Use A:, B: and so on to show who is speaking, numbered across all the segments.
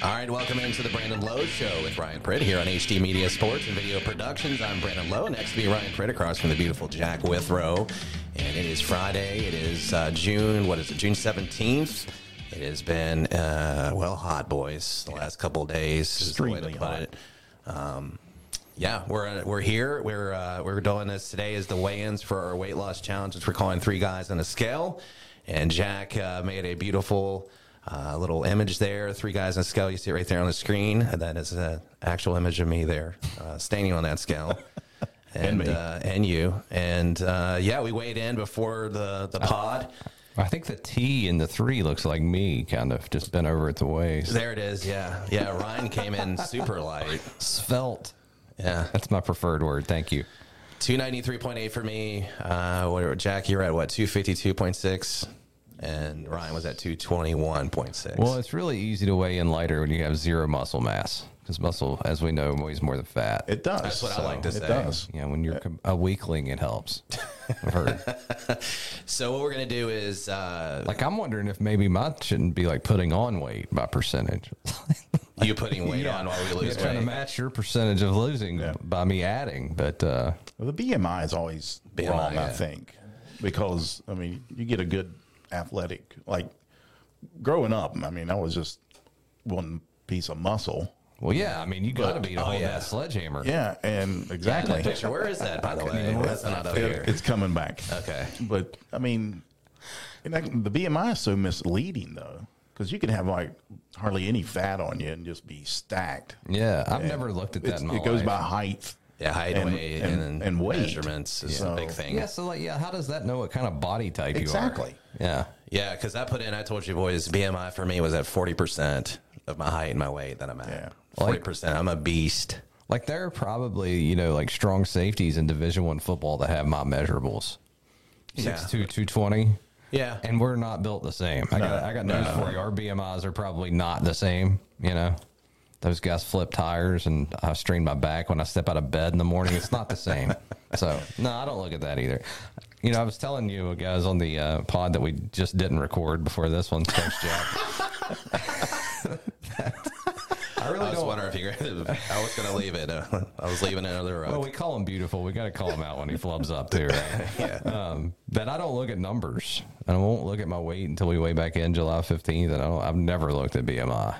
A: All right, welcome into the Brandon Lowe Show with Ryan Pritt here on HD Media Sports and Video Productions. I'm Brandon Lowe. Next to me, Ryan Pritt across from the beautiful Jack Withrow. And it is Friday. It is uh, June, what is it, June 17th. It has been, uh, well, hot, boys, the last couple of days. is the way to
B: Extremely
A: put
B: hot.
A: it. Um, yeah, we're we're here. We're uh, we're doing this today as the weigh-ins for our weight loss challenge, which we're calling Three Guys on a Scale. And Jack uh, made a beautiful uh, little image there. Three guys on a scale. You see it right there on the screen. And that is an actual image of me there, uh, standing on that scale. And,
B: me.
A: Uh, and you. And uh, yeah, we weighed in before the, the pod.
C: I think the T in the three looks like me, kind of just bent over at the waist.
A: There it is. Yeah. Yeah. Ryan came in super light.
C: Svelte.
A: Yeah.
C: That's my preferred word. Thank you.
A: 293.8 for me. Uh, what, Jack, you're at what, 252.6? And Ryan was at 221.6.
C: Well, it's really easy to weigh in lighter when you have zero muscle mass because muscle, as we know, weighs more than fat.
B: It Uh, does.
A: That's what I like to
B: it
A: say.
B: does.
C: yeah, when you're com- a weakling, it helps. I've heard.
A: so what we're going to do is uh,
C: Like, I'm wondering if maybe mine shouldn't be like putting on weight by percentage.
A: you putting weight on while we
C: Just
A: lose
C: trying to
A: weight.
C: match your percentage of losing
B: Yeah.
C: by me adding, but uh,
B: Well, the BMI is always
A: BMI,
B: wrong, I
A: yeah.
B: think, because I mean, you get a good athletic. Like growing up, I mean, I was just one piece of muscle.
C: well, yeah, I mean, you got to be to
A: oh,
C: hold
A: yeah.
C: that sledgehammer.
B: Yeah, and exactly,
A: Picture, where is that, by the way? That's not up here.
B: it's coming back.
A: Okay.
B: but I mean, and that, the BMI is so misleading though, because you can have like hardly any fat on you and just be stacked.
C: Yeah, I've
B: And
C: never looked at that.
B: it's-
C: in my
B: It goes
C: life.
B: by height.
A: Yeah, height,
B: and-
A: weight, and,
B: and- and weight.
A: measurements is a
B: So-
A: big thing.
C: Yeah, so like, yeah, how does that know what kind of body type
B: Exactly.
C: you are? Yeah.
A: Yeah, because I put in, I told you boys, BMI for me was at 40% of my height and my weight that I'm at.
B: Yeah.
A: 40%. I'm a beast.
C: Like there are probably, you know, like strong safeties in division one football that have my measurables.
A: Yeah.
C: Six two, two twenty.
A: Yeah.
C: And we're not built the same. I got I got news for you. Our BMIs are probably not the same, you know. Those guys flip tires and I strain my back when I step out of bed in the morning. It's not the same. so no, I don't look at that either. You know, I was telling you guys on the uh, pod that we just didn't record before this one. Thanks, Jack. I really
A: I was
C: don't
A: wondering if you I was going to leave it. Uh, I was leaving it under the rug.
C: Well, we call him beautiful. We got to call him out when he flubs up too. Right? Um, but I don't look at numbers, and I won't look at my weight until we weigh back in July fifteenth. And I don't, I've never looked at BMI.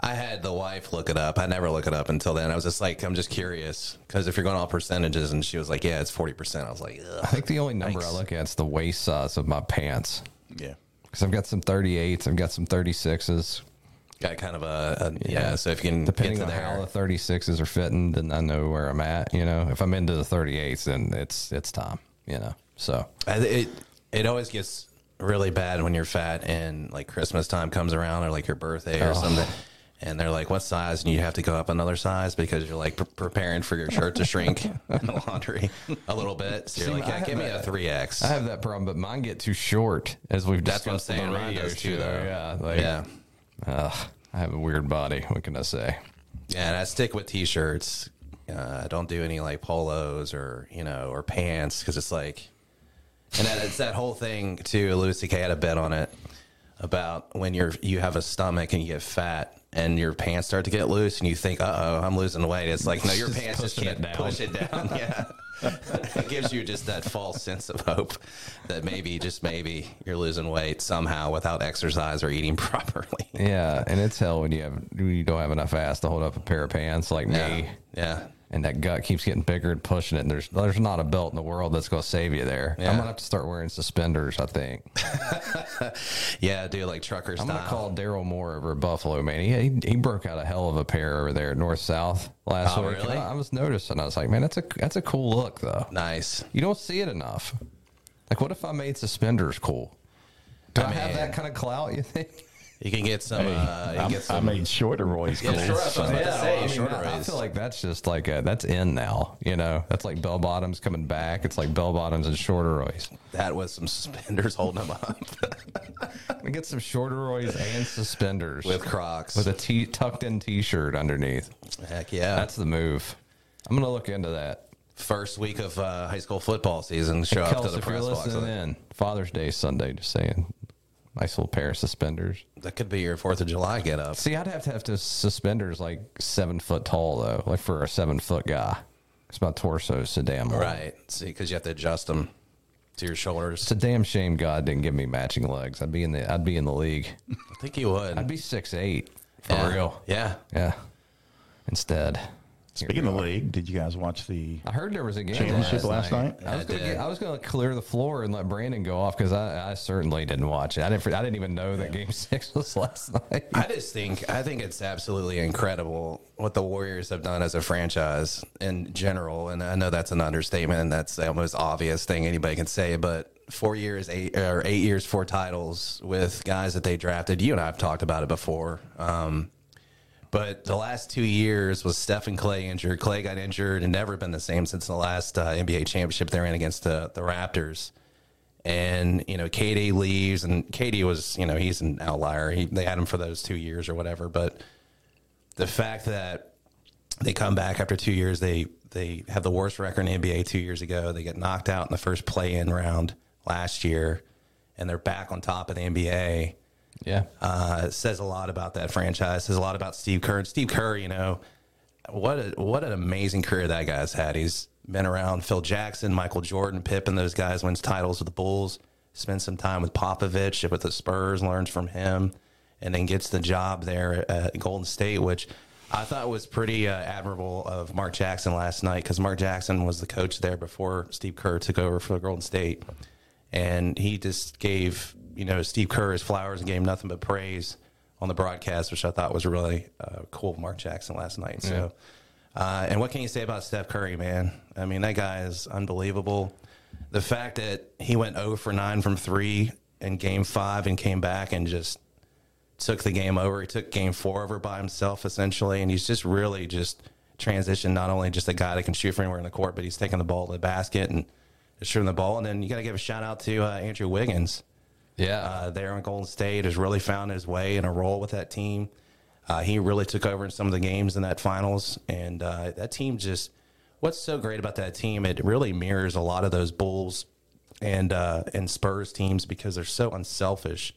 A: I had the wife look it up. I never look it up until then. I was just like, I'm just curious because if you're going all percentages, and she was like, Yeah, it's forty percent. I was like,
C: I
A: Ugh.
C: think the only number I look at is the waist size of my pants
B: Yeah.
C: because I've got some thirty eights, I've got some thirty sixes.
A: got kind of a, a yeah. So if you can
C: Depending
A: get
C: on
A: to
C: how
A: there,
C: the thirty sixes are fitting, then I know where I'm at. You know, if I'm into the thirty eights, then it's it's time. You know, so
A: I- it it always gets really bad when you're fat and like Christmas time comes around or like your birthday
C: Oh.
A: or something. And they're like, "What size?" And you have to go up another size because you're like pre- preparing for your shirt to shrink in the laundry a little bit. So you're like, "Yeah, give me a three X."
C: I have that problem, but mine get too short, as we've
A: That's what I'm
C: discussed on
A: saying.
C: the
A: Mine
C: radio
A: does
C: show.
A: too, though.
C: Yeah, like,
A: Yeah.
C: Ugh, I have a weird body. What can I say?
A: Yeah, and I stick with t-shirts. Uh, I don't do any like polos or you know or pants because it's like, and that, it's that whole thing too. Louis C.K. had a bet on it about when you're you have a stomach and you get fat and your pants start to get loose and you think, uh oh, I'm losing weight. It's like no, your
C: Just
A: pants just
C: pushing
A: can't
C: it down.
A: push it down. Yeah, it gives you just that false sense of hope that maybe just maybe you're losing weight somehow without exercise or eating properly.
C: Yeah, and it's hell when you have when you don't have enough ass to hold up a pair of pants like me,
A: Yeah, yeah.
C: and that gut keeps getting bigger and pushing it. And there's there's not a belt in the world that's going to save you there.
A: Yeah.
C: I'm gonna have to start wearing suspenders. I think
A: Yeah, do like trucker
C: I'm
A: style.
C: gonna call Daryl Moore over at Buffalo. Man, he, he he broke out a hell of a pair over there at North South last
A: Oh,
C: week. and
A: really?
C: I, I was noticing. I was like, man, that's a that's a cool look though.
A: Nice.
C: You don't see it enough. Like, what if I made suspenders cool? Do I, have
A: mean-
C: that kind of clout? You think?
A: You can get some. uh, you can
B: I'm-
A: get
B: I
A: some.
B: made shorter Roy's
A: Yeah, sure, I was about to say,
C: I, mean,
A: shorter
C: I- I
A: is-
C: feel like that's just like uh that's in now. You know, that's like bell bottoms coming back. It's like bell bottoms and shorteroys.
A: that was some suspenders holding them up
C: We get some shorteroys and suspenders
A: with Crocs.
C: with a t- tucked in T-shirt underneath.
A: Heck yeah!
C: That's the move. I'm gonna look into that.
A: First week of uh, high school football season. Show up to
C: Kels,
A: the
C: if you're
A: press box.
C: listening in, Father's Day is Sunday. Just saying, nice little pair of suspenders.
A: That could be your Fourth of July get up.
C: See, I'd have to have to suspenders like seven foot tall though, like for a seven foot guy. It's my torso is so damn long.
A: Right. See, because you have to adjust them to your shoulders.
C: It's a damn shame God didn't give me matching legs. I'd be in the I'd be in the league.
A: I think you would.
C: I'd be six eight for
A: yeah.
C: real.
A: Yeah.
C: Yeah. Instead,
B: Speaking of the league, did you guys watch the?
C: I heard there was a game
B: Championship last night?
C: I was
A: I
C: gonna
A: did.
C: get- I was going to clear the floor and let Brandon go off because I, I certainly didn't watch it. I didn't I didn't even know that Game Six was last night.
A: I just think I think it's absolutely incredible what the Warriors have done as a franchise in general, and I know that's an understatement, and that's the most obvious thing anybody can say. But four years, eight or eight years, four titles with guys that they drafted. You and I have talked about it before. Um, but the last two years was Stephen Clay injured. Clay got injured and never been the same since the last uh, NBA championship they ran against the, the Raptors. And, you know, KD leaves, and KD was, you know, he's an outlier. He, they had him for those two years or whatever. But the fact that they come back after two years, they, they have the worst record in the NBA two years ago. They get knocked out in the first play in round last year, and they're back on top of the NBA
C: Yeah,
A: uh, says a lot about that franchise. Says a lot about Steve Kerr. And Steve Kerr, you know, what a, what an amazing career that guy's had. He's been around Phil Jackson, Michael Jordan, Pippen. Those guys wins titles with the Bulls. Spends some time with Popovich with the Spurs. Learns from him, and then gets the job there at Golden State, which. I thought was pretty uh, admirable of Mark Jackson last night because Mark Jackson was the coach there before Steve Kerr took over for Golden State and he just gave you know Steve Kerr his flowers and gave him nothing but praise on the broadcast, which I thought was really uh, cool. of Mark Jackson last night. So, uh, and what can you say about Steph Curry, man? I mean, that guy is unbelievable. The fact that he went 0 for 9 from three in Game Five and came back and just took the game over. He took game four over by himself essentially, and he's just really just transitioned. Not only just a guy that can shoot from anywhere in the court, but he's taking the ball to the basket and just shooting the ball. And then you got to give a shout out to uh, Andrew Wiggins
C: yeah.
A: uh, there in Golden State has really found his way in a role with that team. Uh, he really took over in some of the games in that finals, and uh, that team just. What's so great about that team? It really mirrors a lot of those Bulls and uh, and Spurs teams because they're so unselfish.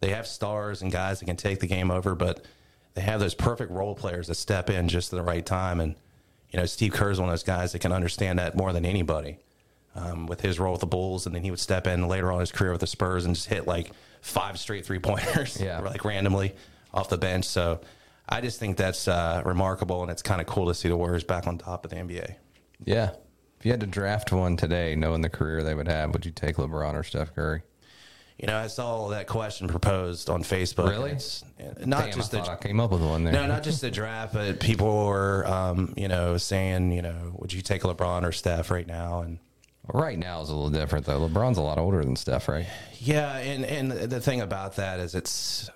A: They have stars and guys that can take the game over, but they have those perfect role players that step in just at the right time. And you know, Steve Kerr's one of those guys that can understand that more than anybody um, with his role with the Bulls, and then he would step in later on in his career with the Spurs and just hit like five straight three pointers,
C: Yeah.
A: like randomly off the bench. So I just think that's uh, remarkable, and it's kind of cool to see the Warriors back on top of the NBA.
C: Yeah. If you had to draft one today, knowing the career they would have, would you take LeBron or Steph Curry?
A: You know, I saw that question proposed on Facebook.
C: Really?
A: and it's- uh, Not
C: Damn,
A: just
C: I
A: the
C: thought I came up with one there.
A: No, not just the draft, but people were, um, you know, saying, you know, would you take LeBron or Steph right now? And
C: Right now is a little different though. LeBron's a lot older than Steph, right?
A: yeah, and and the thing about that is it's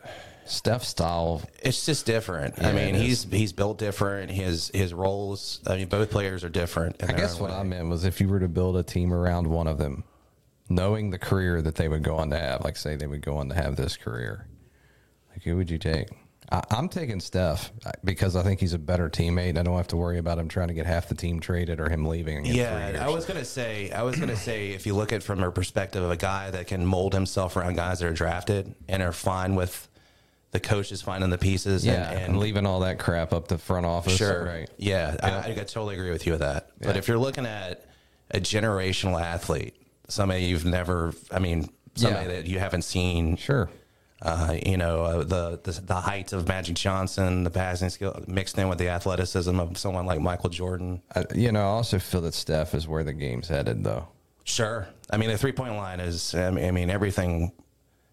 C: Steph's style,
A: it's just different. I
C: Yeah,
A: mean,
C: it
A: he's he's built different. His his roles. I mean, both players are different. in
C: I
A: their
C: guess
A: own
C: what
A: way.
C: I meant was if you were to build a team around one of them, knowing the career that they would go on to have, like say they would go on to have this career, like who would you take? I, I'm taking Steph uh, because I think he's a better teammate. I don't have to worry about him trying to get half the team traded or him leaving. in three
A: Yeah,
C: years.
A: I was gonna say. I was gonna say if you look at it from a perspective of a guy that can mold himself around guys that are drafted and are fine with the coaches finding the pieces.
C: yeah,
A: and,
C: and, leaving all that crap up to front office.
A: Sure.
C: right?
A: Yeah, I, I totally agree with you with that. But
C: Yeah.
A: if you're looking at a generational athlete, somebody you've never, I mean, somebody
C: Yeah.
A: that you haven't seen,
C: Sure.
A: uh, you know, uh, the, the the height of Magic Johnson, the passing skill mixed in with the athleticism of someone like Michael Jordan.
C: I, Uh, you know, I also feel that Steph is where the game's headed, though.
A: Sure. I mean, the three point line is, I mean, I mean, everything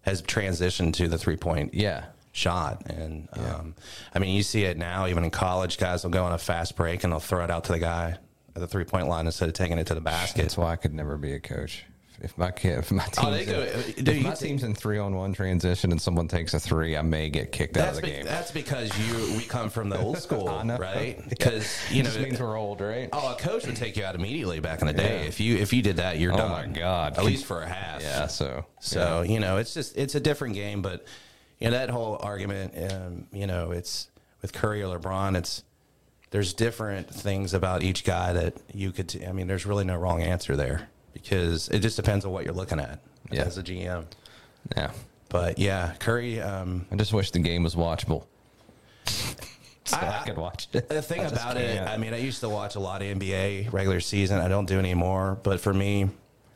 A: has transitioned to the three point
C: Yeah.
A: shot. And um, I mean, you see it now, even in college, guys will go on a fast break and they'll throw it out to the guy at the three point line instead of taking it to the basket.
C: That's why I could never be a coach. If my kid, if my team's,
A: Oh, they do
C: in,
A: it. Dude,
C: if
A: you
C: my
A: could take-
C: team's in three on one transition and someone takes a three, I may get kicked out of
A: That's, uh,
C: the
A: be-
C: game.
A: that's because you we come from the old school,
C: I know.
A: right? Because you
C: It
A: know,
C: just means we're old, right?
A: oh, a coach would take you out immediately back in the day.
C: Yeah.
A: If you if you did that, you're
C: Oh
A: done.
C: my God.
A: At least for a half.
C: yeah. So,
A: So you know, it's just it's a different game. But you know that whole argument, um, you know, it's with Curry or LeBron. It's there's different things about each guy that you could. T- I mean, there's really no wrong answer there because it just depends on what you're looking at
C: Yeah.
A: as a GM.
C: yeah.
A: But yeah, Curry. Um,
C: I just wish the game was watchable. so I,
A: I-
C: could watch it.
A: the thing
C: I just
A: about it,
C: can't.
A: I mean, I used to watch a lot of NBA regular season. I don't do anymore. But for me,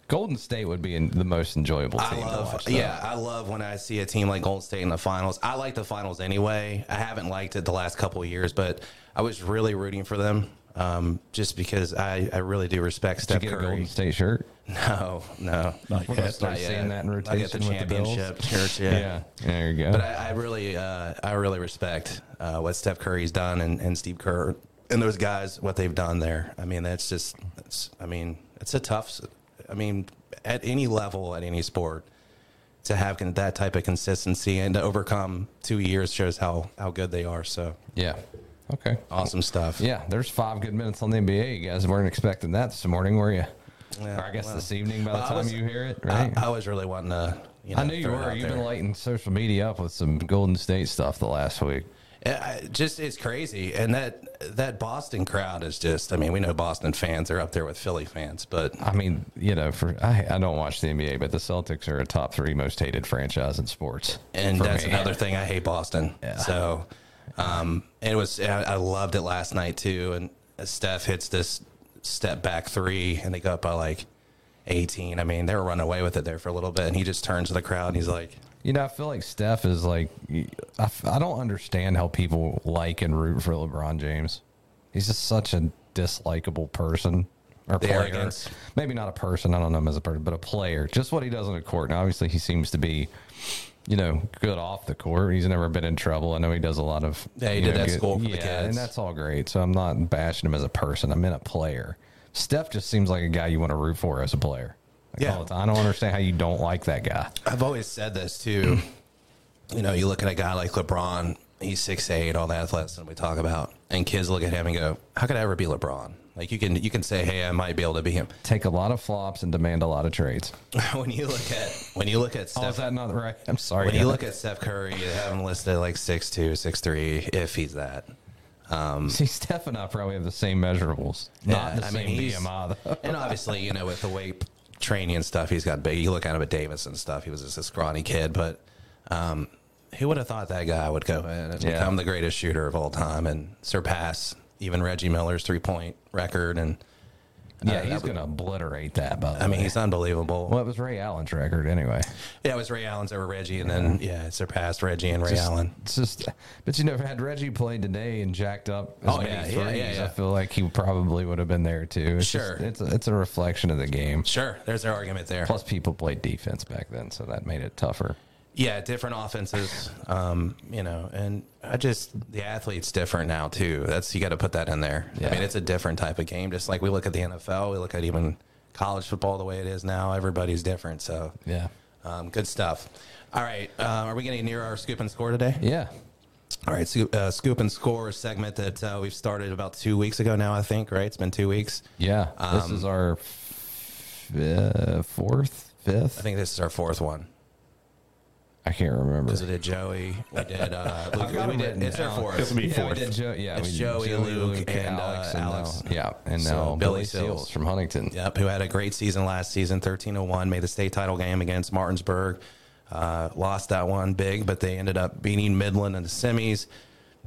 C: Golden State would be in the most enjoyable
A: I
C: team to
A: love,
C: watch. though.
A: yeah, I love when I see a team like Golden State in the finals. I like the finals anyway. I haven't liked it the last couple of years, but I was really rooting for them um, just because I, I really do respect
C: Did you
A: Steph
C: get a
A: Curry.
C: Golden State shirt?
A: No, no,
B: Not
C: We're gonna
B: yet.
C: start seeing that in
A: I get the
C: rotation with the Bills.
A: championship church, yeah.
C: There you go.
A: But I, I really, uh, I really respect uh, what Steph Curry's done and, and Steve Kerr and those guys what they've done there. I mean, that's just, it's, I mean, it's a tough. s- I mean, at any level, at any sport, to have con- that type of consistency and to overcome two years shows how how good they are. So
C: yeah. Okay.
A: awesome stuff.
C: Yeah, there's five good minutes on the NBA. You guys weren't expecting that this morning, were you?
A: Yeah,
C: or I guess
A: well.
C: this evening by the
A: Well, I
C: time
A: was-
C: you hear it,
A: I,
C: right?
A: I was really wanting to. You know,
C: I knew you
A: throw it
C: were.
A: out
C: You've
A: there.
C: been lighting social media up with some Golden State stuff the last week.
A: Yeah, I- just it's crazy, and that that Boston crowd is just. I mean, we know Boston fans are up there with Philly fans, but
C: I mean, you know, for I, I don't watch the NBA, but the Celtics are a top three most hated franchise in sports.
A: and
C: for
A: that's
C: me.
A: another thing I hate Boston.
C: Yeah.
A: So, um, it was. I I loved it last night too, and Steph hits this step back three, and they go up by like eighteen. I mean, they were running away with it there for a little bit, and he just turns to the crowd and he's like,
C: You know, I feel like Steph is like, I, f- I don't understand how people like and root for LeBron James. He's just such a dislikable person or
A: The
C: player.
A: arrogance.
C: Maybe not a person. I don't know him as a person, but a player. Just what he does on the court. And obviously, he seems to be, you know, good off the court. He's never been in trouble. I know he does a lot of.
A: Yeah, he
C: you
A: did
C: know,
A: that school for the
C: yeah,
A: kids.
C: and that's all great. So I'm not bashing him as a person. I meant a player. Steph just seems like a guy you want to root for as a player. Like
A: Yeah.
C: all the time. I don't understand how you don't like that guy.
A: I've always said this too. you know, you look at a guy like LeBron, he's six eight, all the athleticism we talk about, and kids look at him and go, "How could I ever be LeBron?" Like you can you can say, "Hey, I might be able to be him."
C: take a lot of flops and demand a lot of trades.
A: when you look at when you look at
C: Oh, is
A: Steph,
C: that not right? I'm sorry.
A: when you look at Steph Curry, they have him listed like six two, six three, if he's that.
C: see, Steph and I probably have the same measurables, not
A: Yeah,
C: the
A: I mean,
C: same
A: he's-
C: BMI. Though.
A: and obviously, you know, with the weight training and stuff, he's got big. You look at him at Davis and stuff; he was just a scrawny kid. But um, who would have thought that guy would go in and
C: Yeah.
A: become the greatest shooter of all time and surpass even Reggie Miller's three point record? And
C: Yeah,
A: that
C: he's
A: would-
C: going to obliterate that. By the
A: I
C: way,
A: mean, he's unbelievable.
C: well, it was Ray Allen's record anyway.
A: Yeah, it was Ray Allen's over Reggie, and then yeah, it surpassed Reggie and Ray Allen.
C: It's just, but you know, had Reggie played today and jacked up as
A: Oh,
C: many
A: yeah,
C: threes,
A: yeah, yeah, yeah.
C: I feel like he probably would have been there too. It's just-
A: Sure.
C: it's a, it's a reflection of the game.
A: Sure, there's their argument there.
C: Plus, people played defense back then, so that made it tougher.
A: Yeah, different offenses. Um, you know, and I just the athlete's different now too. That's you got to put that in there.
C: Yeah.
A: I mean, it's a different type of game. Just like we look at the NFL, we look at even college football the way it is now. Everybody's different. So,
C: Yeah,
A: um, good stuff. All right, uh, are we getting near our scoop and score today?
C: yeah.
A: All right, scoop, uh, scoop and score segment that uh, we've started about two weeks ago now. I think right. It's been two weeks.
C: Yeah, this
A: Um,
C: is our f- uh, fourth, fifth.
A: I think this is our fourth one.
C: I can't remember.
A: Because we did Joey, we did uh, Luke.
C: got
A: We
C: it
A: did,
C: written
A: it's our
C: down.
A: fourth.
B: This will be
C: yeah,
B: fourth.
C: we did Joe. Yeah,
A: It's
C: we did
A: Joey, Luke, and, uh,
C: now-
A: Alex.
C: yeah, and now
A: So,
C: Billy,
A: Billy
C: Seals.
A: Seals.
C: from Huntington.
A: Yep, who had a great season last season, 1301, made the state title game against Martinsburg. Uh, lost that one big, but they ended up beating Midland in the semis.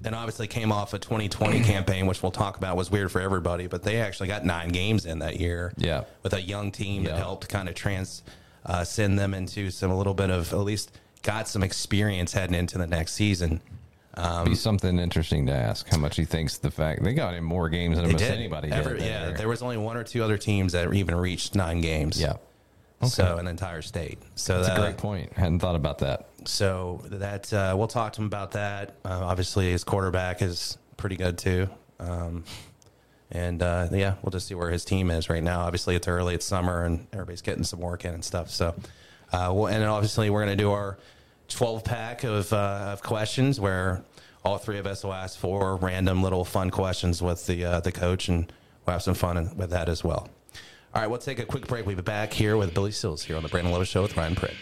A: And obviously came off a 2020 campaign, which we'll talk about, was weird for everybody, but they actually got nine games in that year.
C: Yeah.
A: With a young team that
C: Yeah.
A: helped kind of trans uh, send them into some a little bit of at least got some experience heading into the next season.
C: Be something interesting to ask. How much he thinks the fact they got in more games than
A: They
C: almost
A: did.
C: anybody
A: Every-
C: did. that
A: yeah,
C: year.
A: there was only one or two other teams that even reached nine games.
C: yeah.
A: So an entire state. So
C: That's
A: that,
C: a great point. Hadn't thought about that.
A: So that uh, we'll talk to him about that. Uh, obviously, his quarterback is pretty good too. Um, and uh, yeah, we'll just see where his team is right now. Obviously, it's early, it's summer, and everybody's getting some work in and stuff. So, uh, we'll, and obviously, we're going to do our 12 pack of, uh, of questions where all three of us will ask four random little fun questions with the, uh, the coach, and we'll have some fun in- with that as well. All right, we'll take a quick break. We'll be back here with Billy Seals here on the Brandon Lowe Show with Ryan Pritt.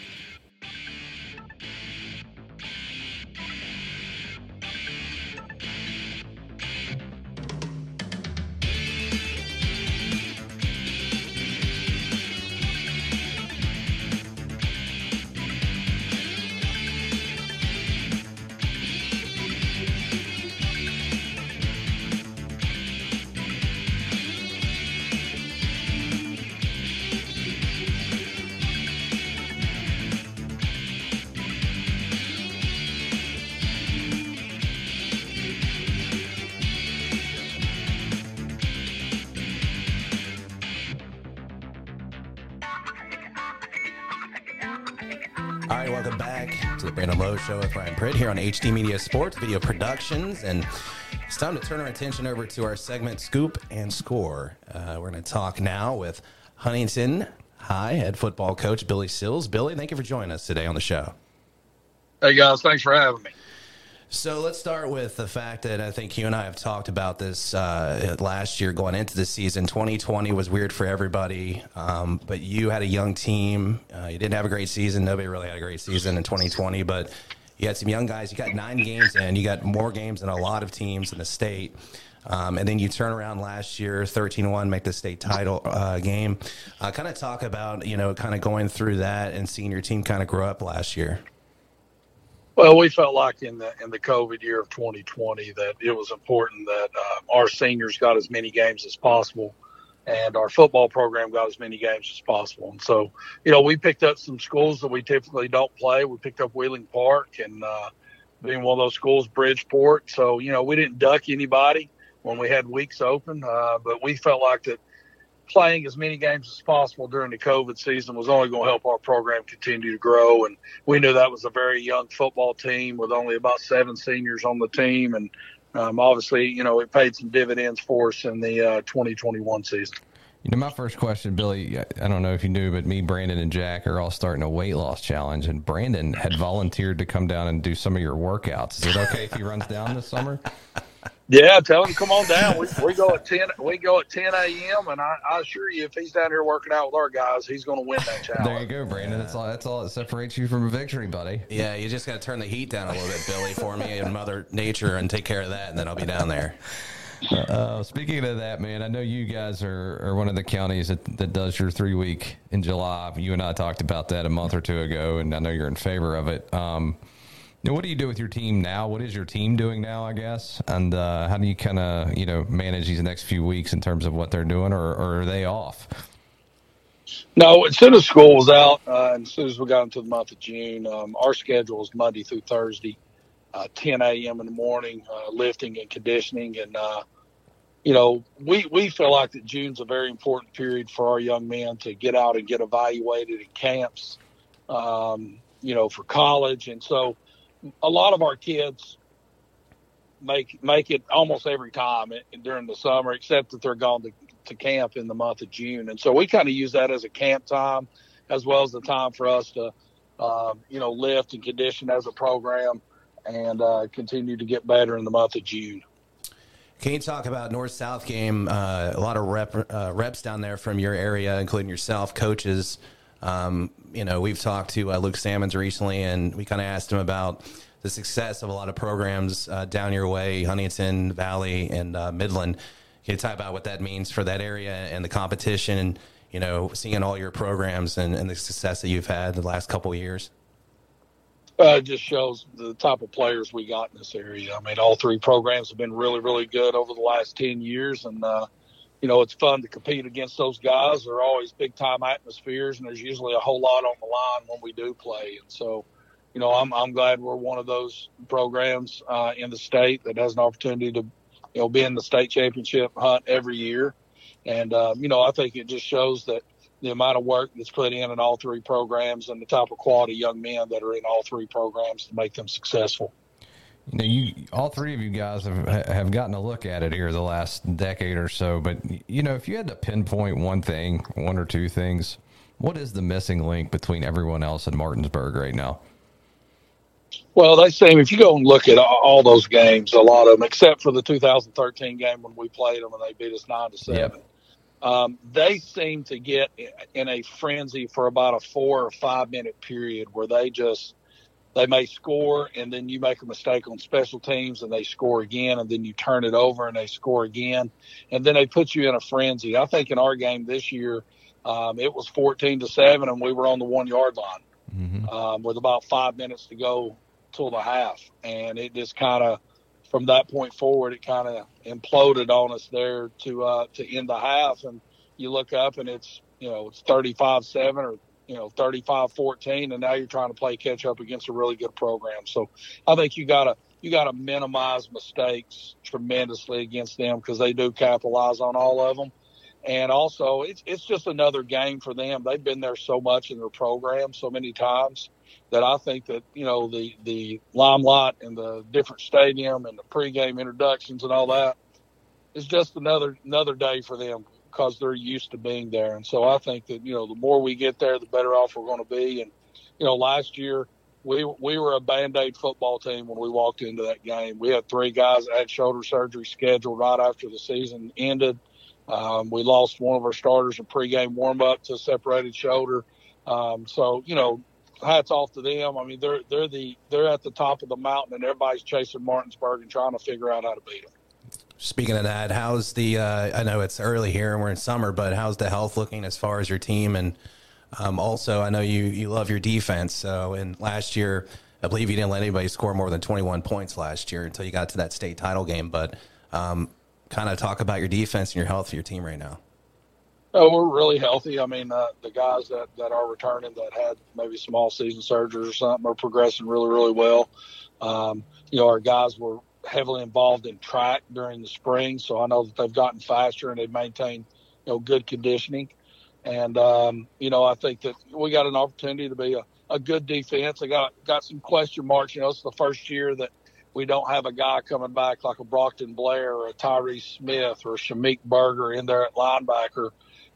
A: back to the Brandon Lowe Show with Brian Pritt here on HD Media Sports Video Productions, and it's time to turn our attention over to our segment Scoop and Score. Uh, we're going to talk now with Huntington High head football coach Billy Sills. Billy, thank you for joining us today on the show.
D: Hey guys, thanks for having me.
A: So let's start with the fact that I think you and I have talked about this uh, last year going into the season. 2020 was weird for everybody, um, but you had a young team. Uh, you didn't have a great season. Nobody really had a great season in 2020, but you had some young guys. You got nine games in. You got more games than a lot of teams in the state. Um, and then you turn around last year, 13 1, make the state title uh, game. kind of talk about, you know, kind of going through that and seeing your team kind of grow up last year.
D: Well, we felt like in the in the COVID year of 2020 that it was important that uh, our seniors got as many games as possible, and our football program got as many games as possible. And so, you know, we picked up some schools that we typically don't play. We picked up Wheeling Park and uh, being one of those schools, Bridgeport. So, you know, we didn't duck anybody when we had weeks open, uh, but we felt like that playing as many games as possible during the COVID season was only going to help our program continue to grow. And we knew that was a very young football team with only about seven seniors on the team. And um, obviously, you know, it paid some dividends for us in the uh, 2021 season.
C: You know, my first question, Billy, I don't know if you knew, but me, Brandon, and Jack are all starting a weight loss challenge. And Brandon had volunteered to come down and do some of your workouts. Is it okay if he runs down this summer?
D: Yeah, tell him come on down. We, we go at ten. We go at ten a.m. And I, I assure you, if he's down here working out with our guys, he's going to win that challenge.
C: There you go, Brandon. That's all. That's all that separates you from a victory, buddy.
A: Yeah, you just got to turn the heat down a little bit, Billy, for me and Mother Nature, and take care of that, and then I'll be down there.
C: Uh, speaking of that, man, I know you guys are, are one of the counties that, that does your three week in July. You and I talked about that a month or two ago, and I know you're in favor of it. Um, now, what do you do with your team now? What is your team doing now? I guess, and uh, how do you kind of you know manage these next few weeks in terms of what they're doing, or, or are they off?
D: No, as soon as school was out, uh, and as soon as we got into the month of June, um, our schedule is Monday through Thursday, uh, 10 a.m. in the morning, uh, lifting and conditioning, and uh, you know we we feel like that June's a very important period for our young men to get out and get evaluated in camps, um, you know, for college, and so a lot of our kids make make it almost every time during the summer, except that they're gone to, to camp in the month of June, and so we kind of use that as a camp time, as well as the time for us to, um, you know, lift and condition as a program, and uh, continue to get better in the month of June.
A: Can you talk about North South game? Uh, a lot of rep, uh, reps down there from your area, including yourself, coaches. Um, you know, we've talked to uh, Luke Salmons recently, and we kind of asked him about the success of a lot of programs uh, down your way, Huntington Valley and uh, Midland. Can you talk about what that means for that area and the competition, and you know, seeing all your programs and, and the success that you've had the last couple years?
D: Uh, it just shows the type of players we got in this area. I mean, all three programs have been really, really good over the last ten years, and uh, you know, it's fun to compete against those guys. They're always big time atmospheres, and there's usually a whole lot on the line when we do play. And so, you know, I'm I'm glad we're one of those programs uh, in the state that has an opportunity to, you know, be in the state championship hunt every year. And uh, you know, I think it just shows that the amount of work that's put in in all three programs and the type of quality young men that are in all three programs to make them successful
C: you know, you all three of you guys have have gotten a look at it here the last decade or so. But you know, if you had to pinpoint one thing, one or two things, what is the missing link between everyone else in Martinsburg right now?
D: Well, they seem if you go and look at all those games, a lot of them, except for the 2013 game when we played them and they beat us nine to seven. Yep. Um, they seem to get in a frenzy for about a four or five minute period where they just they may score and then you make a mistake on special teams and they score again and then you turn it over and they score again and then they put you in a frenzy i think in our game this year um, it was 14 to 7 and we were on the one yard line mm-hmm. um, with about five minutes to go till the half and it just kind of from that point forward it kind of imploded on us there to uh, to end the half and you look up and it's you know it's 35 7 or you know 35 14 and now you're trying to play catch up against a really good program so i think you gotta you gotta minimize mistakes tremendously against them because they do capitalize on all of them and also it's it's just another game for them they've been there so much in their program so many times that I think that you know the the limelight and the different stadium and the pregame introductions and all that is just another another day for them because they're used to being there. And so I think that you know the more we get there, the better off we're going to be. And you know, last year we we were a band aid football team when we walked into that game. We had three guys that had shoulder surgery scheduled right after the season ended. Um, we lost one of our starters in pregame warm up to a separated shoulder. Um, so you know, hats off to them. I mean, they're they're the they're at the top of the mountain, and everybody's chasing Martinsburg and trying to figure out how to beat them.
A: Speaking of that, how's the? Uh, I know it's early here and we're in summer, but how's the health looking as far as your team? And um, also, I know you you love your defense. So, and last year, I believe you didn't let anybody score more than twenty one points last year until you got to that state title game. But um, kind of talk about your defense and your health for your team right now.
D: Oh, we're really healthy. I mean, uh, the guys that, that are returning that had maybe small season surgery or something are progressing really, really well. Um, you know, our guys were heavily involved in track during the spring, so I know that they've gotten faster and they've maintained, you know, good conditioning. And um, you know, I think that we got an opportunity to be a, a good defense. I got got some question marks. You know, it's the first year that we don't have a guy coming back like a Brockton Blair or a Tyree Smith or Shamik Berger in there at linebacker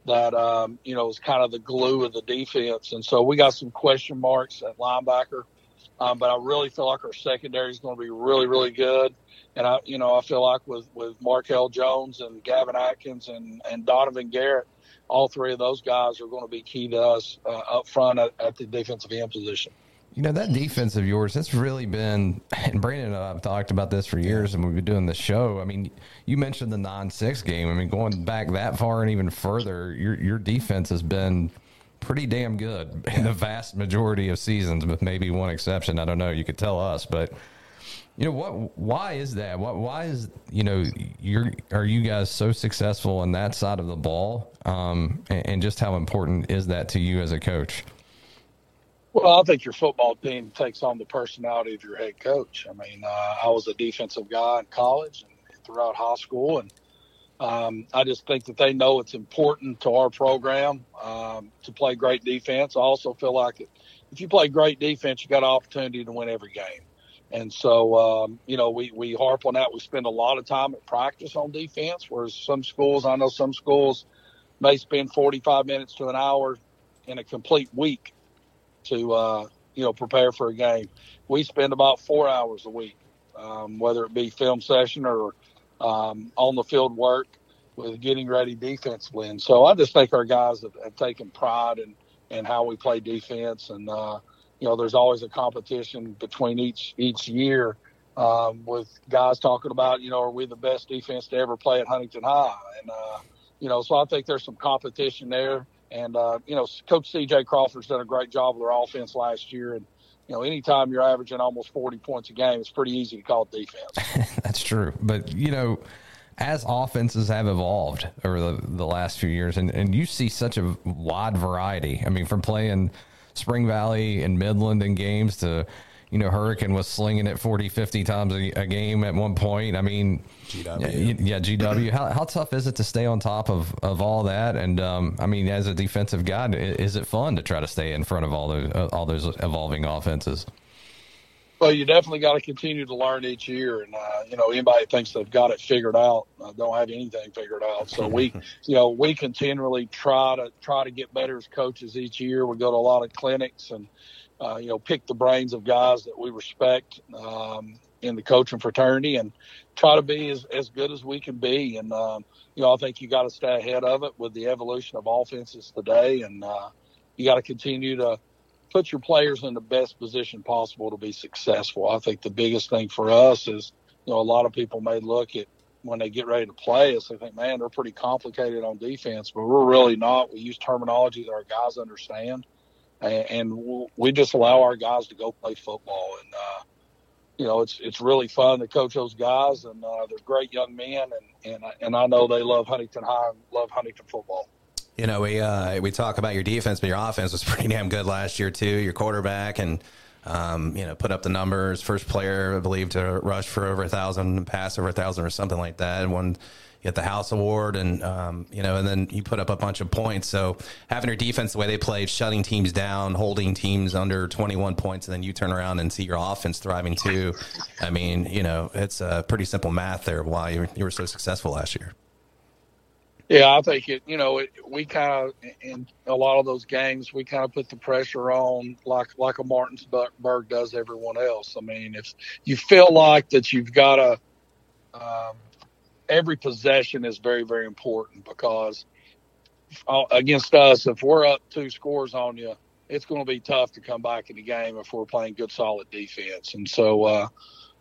D: that um, you know is kind of the glue of the defense. And so we got some question marks at linebacker, um, but I really feel like our secondary is going to be really, really good. And I, you know, I feel like with with Markel Jones and Gavin Atkins and and Donovan Garrett, all three of those guys are going to be key to us uh, up front at, at the defensive end position.
C: You know that defense of yours. That's really been. And Brandon and I've talked about this for years, and we've been doing the show. I mean, you mentioned the non-six game. I mean, going back that far and even further, your your defense has been pretty damn good in the vast majority of seasons, with maybe one exception. I don't know. You could tell us, but you know what? Why is that? What? Why is you know you're are you guys so successful on that side of the ball? Um, and, and just how important is that to you as a coach?
D: Well, I think your football team takes on the personality of your head coach. I mean, uh, I was a defensive guy in college and throughout high school, and um, I just think that they know it's important to our program um, to play great defense. I also feel like if you play great defense, you got an opportunity to win every game. And so, um, you know, we, we harp on that. We spend a lot of time at practice on defense, whereas some schools, I know some schools may spend 45 minutes to an hour in a complete week to uh, you know prepare for a game. We spend about four hours a week, um, whether it be film session or um, on the field work with getting ready defensively. And so I just think our guys have, have taken pride in, in how we play defense. And uh, you know, there's always a competition between each each year. Um, with guys talking about, you know, are we the best defense to ever play at Huntington High? And, uh, you know, so I think there's some competition there. And uh, you know, Coach C.J. Crawford's done a great job with their offense last year. And you know, anytime you're averaging almost 40 points a game, it's pretty easy to call defense.
C: That's true. But you know, as offenses have evolved over the, the last few years, and, and you see such a wide variety. I mean, from playing Spring Valley and Midland in games to you know, Hurricane was slinging it 40, 50 times a, a game at one point. I mean, GW. Yeah, yeah GW. How, how tough is it to stay on top of, of all that? And, um, I mean, as a defensive guy, is it fun to try to stay in front of all those, uh, all those evolving offenses?
D: Well, you definitely got to continue to learn each year. And, uh, you know, anybody thinks they've got it figured out, uh, don't have anything figured out. So we, you know, we continually try to try to get better as coaches each year. We go to a lot of clinics and, uh, you know, pick the brains of guys that we respect um, in the coaching fraternity and try to be as, as good as we can be. And, um, you know, I think you got to stay ahead of it with the evolution of offenses today. And uh, you got to continue to put your players in the best position possible to be successful. I think the biggest thing for us is, you know, a lot of people may look at when they get ready to play us, they think, man, they're pretty complicated on defense, but we're really not. We use terminology that our guys understand and, we just allow our guys to go play football. And uh, you know, it's it's really fun to coach those guys, and uh, they're great young men, and and and I know they love Huntington High, and love Huntington football.
A: You know, we uh, we talk about your defense, but your offense was pretty damn good last year too. Your quarterback and. Um, you know, put up the numbers. First player, I believe, to rush for over a thousand, pass over a thousand, or something like that. And one, get the House Award, and um, you know, and then you put up a bunch of points. So having your defense the way they played, shutting teams down, holding teams under 21 points, and then you turn around and see your offense thriving too. I mean, you know, it's a pretty simple math there. Why you were, you were so successful last year?
D: Yeah, I think it. You know, it, we kind of in a lot of those games, we kind of put the pressure on like like a Martinsburg does everyone else. I mean, if you feel like that, you've got to. Um, every possession is very very important because uh, against us, if we're up two scores on you, it's going to be tough to come back in the game if we're playing good solid defense. And so, uh,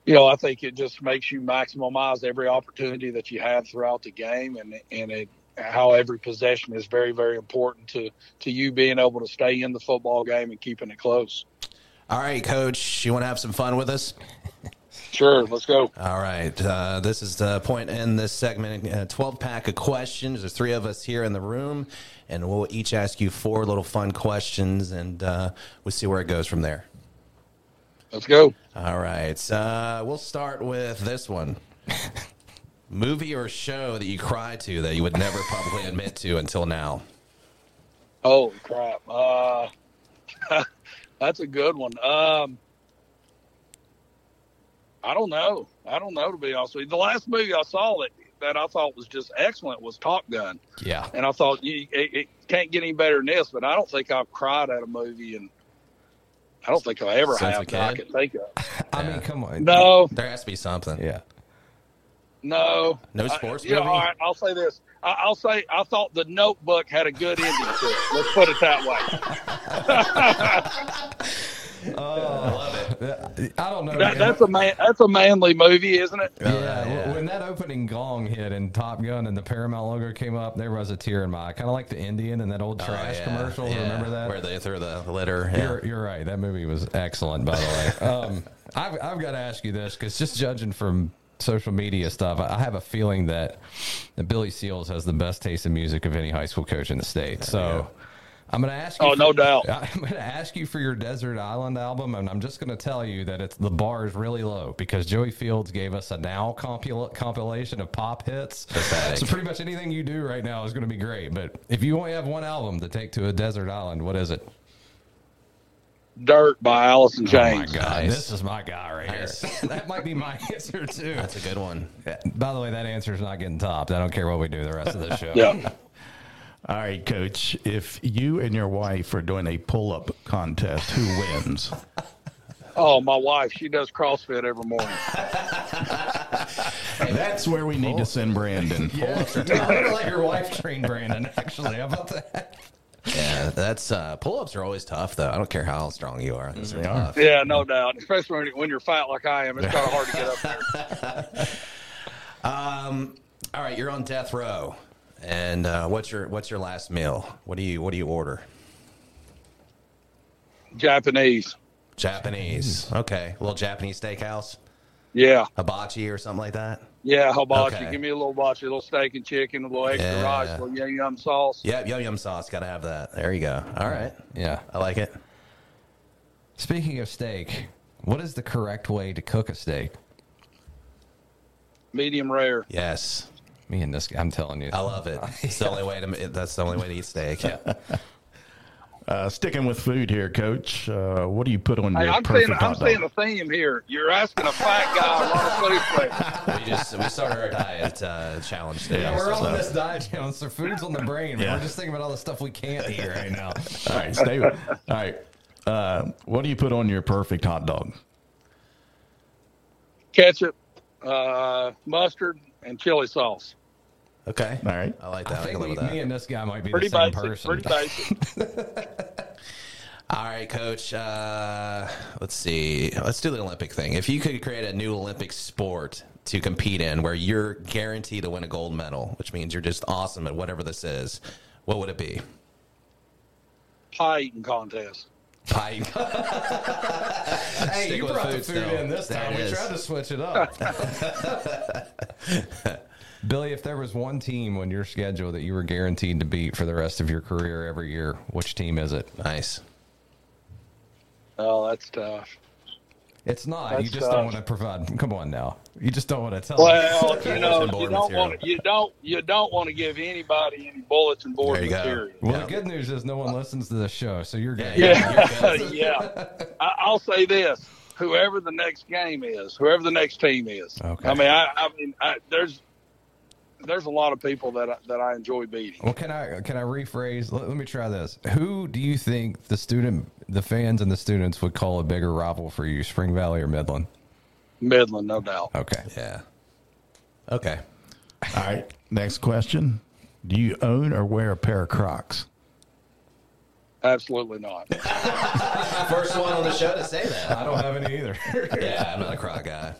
D: you know, I think it just makes you maximize every opportunity that you have throughout the game, and and it, how every possession is very very important to to you being able to stay in the football game and keeping it close.
A: All right, coach, you want to have some fun with us?
D: Sure, let's go.
A: All right, uh, this is the point in this segment. A Twelve pack of questions. There's three of us here in the room, and we'll each ask you four little fun questions, and uh, we'll see where it goes from there.
D: Let's go.
A: All right. Uh, we'll start with this one. Movie or show that you cry to that you would never publicly admit to until now?
D: Oh, crap. Uh, that's a good one. Um, I don't know. I don't know, to be honest with you. The last movie I saw that, that I thought was just excellent was Top Gun.
A: Yeah.
D: And I thought, you, it, it can't get any better than this, but I don't think I've cried at a movie in – I don't think I ever Since have that I can think of.
C: I yeah. mean, come on.
D: No.
A: There has to be something.
C: Yeah.
D: No.
A: No sports
D: I, you know,
A: movie?
D: all right, I'll say this. I, will say I thought the notebook had a good ending to it. Let's put it
A: that way. oh, I love
C: it. I don't know.
D: That, that's a man. That's a manly movie, isn't it?
C: Yeah, uh, yeah. When that opening gong hit and Top Gun and the Paramount logo came up, there was a tear in my eye. Kind of like the Indian and that old trash oh, yeah, commercial. Remember that?
A: Where they threw the litter.
C: You're, you're, right. That movie was excellent, by the way. Um, I've, I've got to ask you this because just judging from social media stuff, I have a feeling that Billy Seals has the best taste in music of any high school coach in the state. So yeah. I'm going to ask you.
D: Oh,
C: for,
D: no doubt.
C: I'm going to ask you for your Desert Island album, and I'm just going to tell you that it's the bar is really low because Joey Fields gave us a now compil- compilation of pop hits.
A: Pathetic.
C: So pretty much anything you do right now is going to be great. But if you only have one album to take to a desert island, what is it?
D: Dirt by Allison James.
C: Oh my God, nice. this is my guy right nice. here. that might be my answer too.
A: That's a good one.
C: Uh, By the way, that answer is not getting topped. I don't care what we do the rest of the show.
D: yeah.
B: All right, Coach. If you and your wife are doing a pull-up contest, who wins?
D: oh, my wife. She does CrossFit every morning.
B: That's where we need oh. to send Brandon.
C: yeah, I let your wife train Brandon. Actually, how about that?
A: Yeah, that's uh, pull ups are always tough though. I don't care how strong you
C: Mm-hmm.
A: are.
B: Those are tough.
D: Yeah, no doubt. Especially when you're fat like I am, it's kind of hard to get up
A: there. um, all right, you're on death row, and uh, what's your what's your last meal? What do you what do you order?
D: Japanese.
A: Japanese. Okay, a little Japanese steakhouse.
D: Yeah.
A: Hibachi or something like that.
D: Yeah, hibachi. Okay. Give me a little hibachi, a little steak and chicken, a little extra yeah. rice, a little yum yum sauce.
A: Yeah, yum yum sauce. Got to have that. There you go. All right.
C: Yeah,
A: I like it.
C: Speaking of steak, what is the correct way to cook a steak?
D: Medium rare.
A: Yes.
C: Me and this, I'm telling you,
A: I love it. It's the only way to. That's the only way to eat steak. Yeah.
B: Uh, sticking with food here, Coach. Uh, what do you put on
D: hey,
B: your
D: I'm
B: perfect
D: seeing, I'm
B: hot dog?
D: seeing a theme here. You're asking a fat guy
A: a lot of food. We just we started our diet uh, challenge. Today,
C: yeah, we're so. on this diet challenge, so food's on the brain. Yeah. We're just thinking about all the stuff we can't eat right now.
B: all right, stay. With, all right, uh, what do you put on your perfect hot dog?
D: Ketchup, uh, mustard, and chili sauce.
A: Okay.
B: All right.
A: I like that. I, I
C: think
A: we,
C: that. me and this guy might be pretty the same basic, person.
D: Pretty basic.
A: All right, Coach. Uh, let's see. Let's do the Olympic thing. If you could create a new Olympic sport to compete in, where you're guaranteed to win a gold medal, which means you're just awesome at whatever this is, what would it be?
D: Pie eating contest.
A: Pie.
C: hey, you brought food the food still. in this time. There we tried to switch it up. Billy, if there was one team on your schedule that you were guaranteed to beat for the rest of your career every year, which team is it?
A: Nice.
D: Oh, that's tough.
C: It's not. You
D: That's,
C: just don't
D: uh,
C: want to provide. Come on now. You just don't want to tell. us.
D: Well, you know,
A: Bulletin board
D: you don't
A: material.
D: want to, you don't you don't want to give anybody any bulletin board
A: There you go.
D: material.
C: Well,
A: Yeah.
C: the good news is no one listens to the show, so you're good.
D: Yeah, yeah. I, I'll say this: whoever the next game is, whoever the next team is.
C: Okay.
D: I mean, I, I mean, I, there's there's a lot of people that I, that I enjoy beating.
C: Well, can I can I rephrase? Let, let me try this. Who do you think the student, the fans, and the students would call a bigger rival for you, Spring Valley or Midland?
D: Midland, no doubt.
C: Okay.
A: Yeah. Okay.
B: All right. Next question. Do you own or wear a pair of Crocs?
D: Absolutely not.
A: First one on the show to say that.
C: I don't have any either.
A: Yeah, I'm not a croc guy.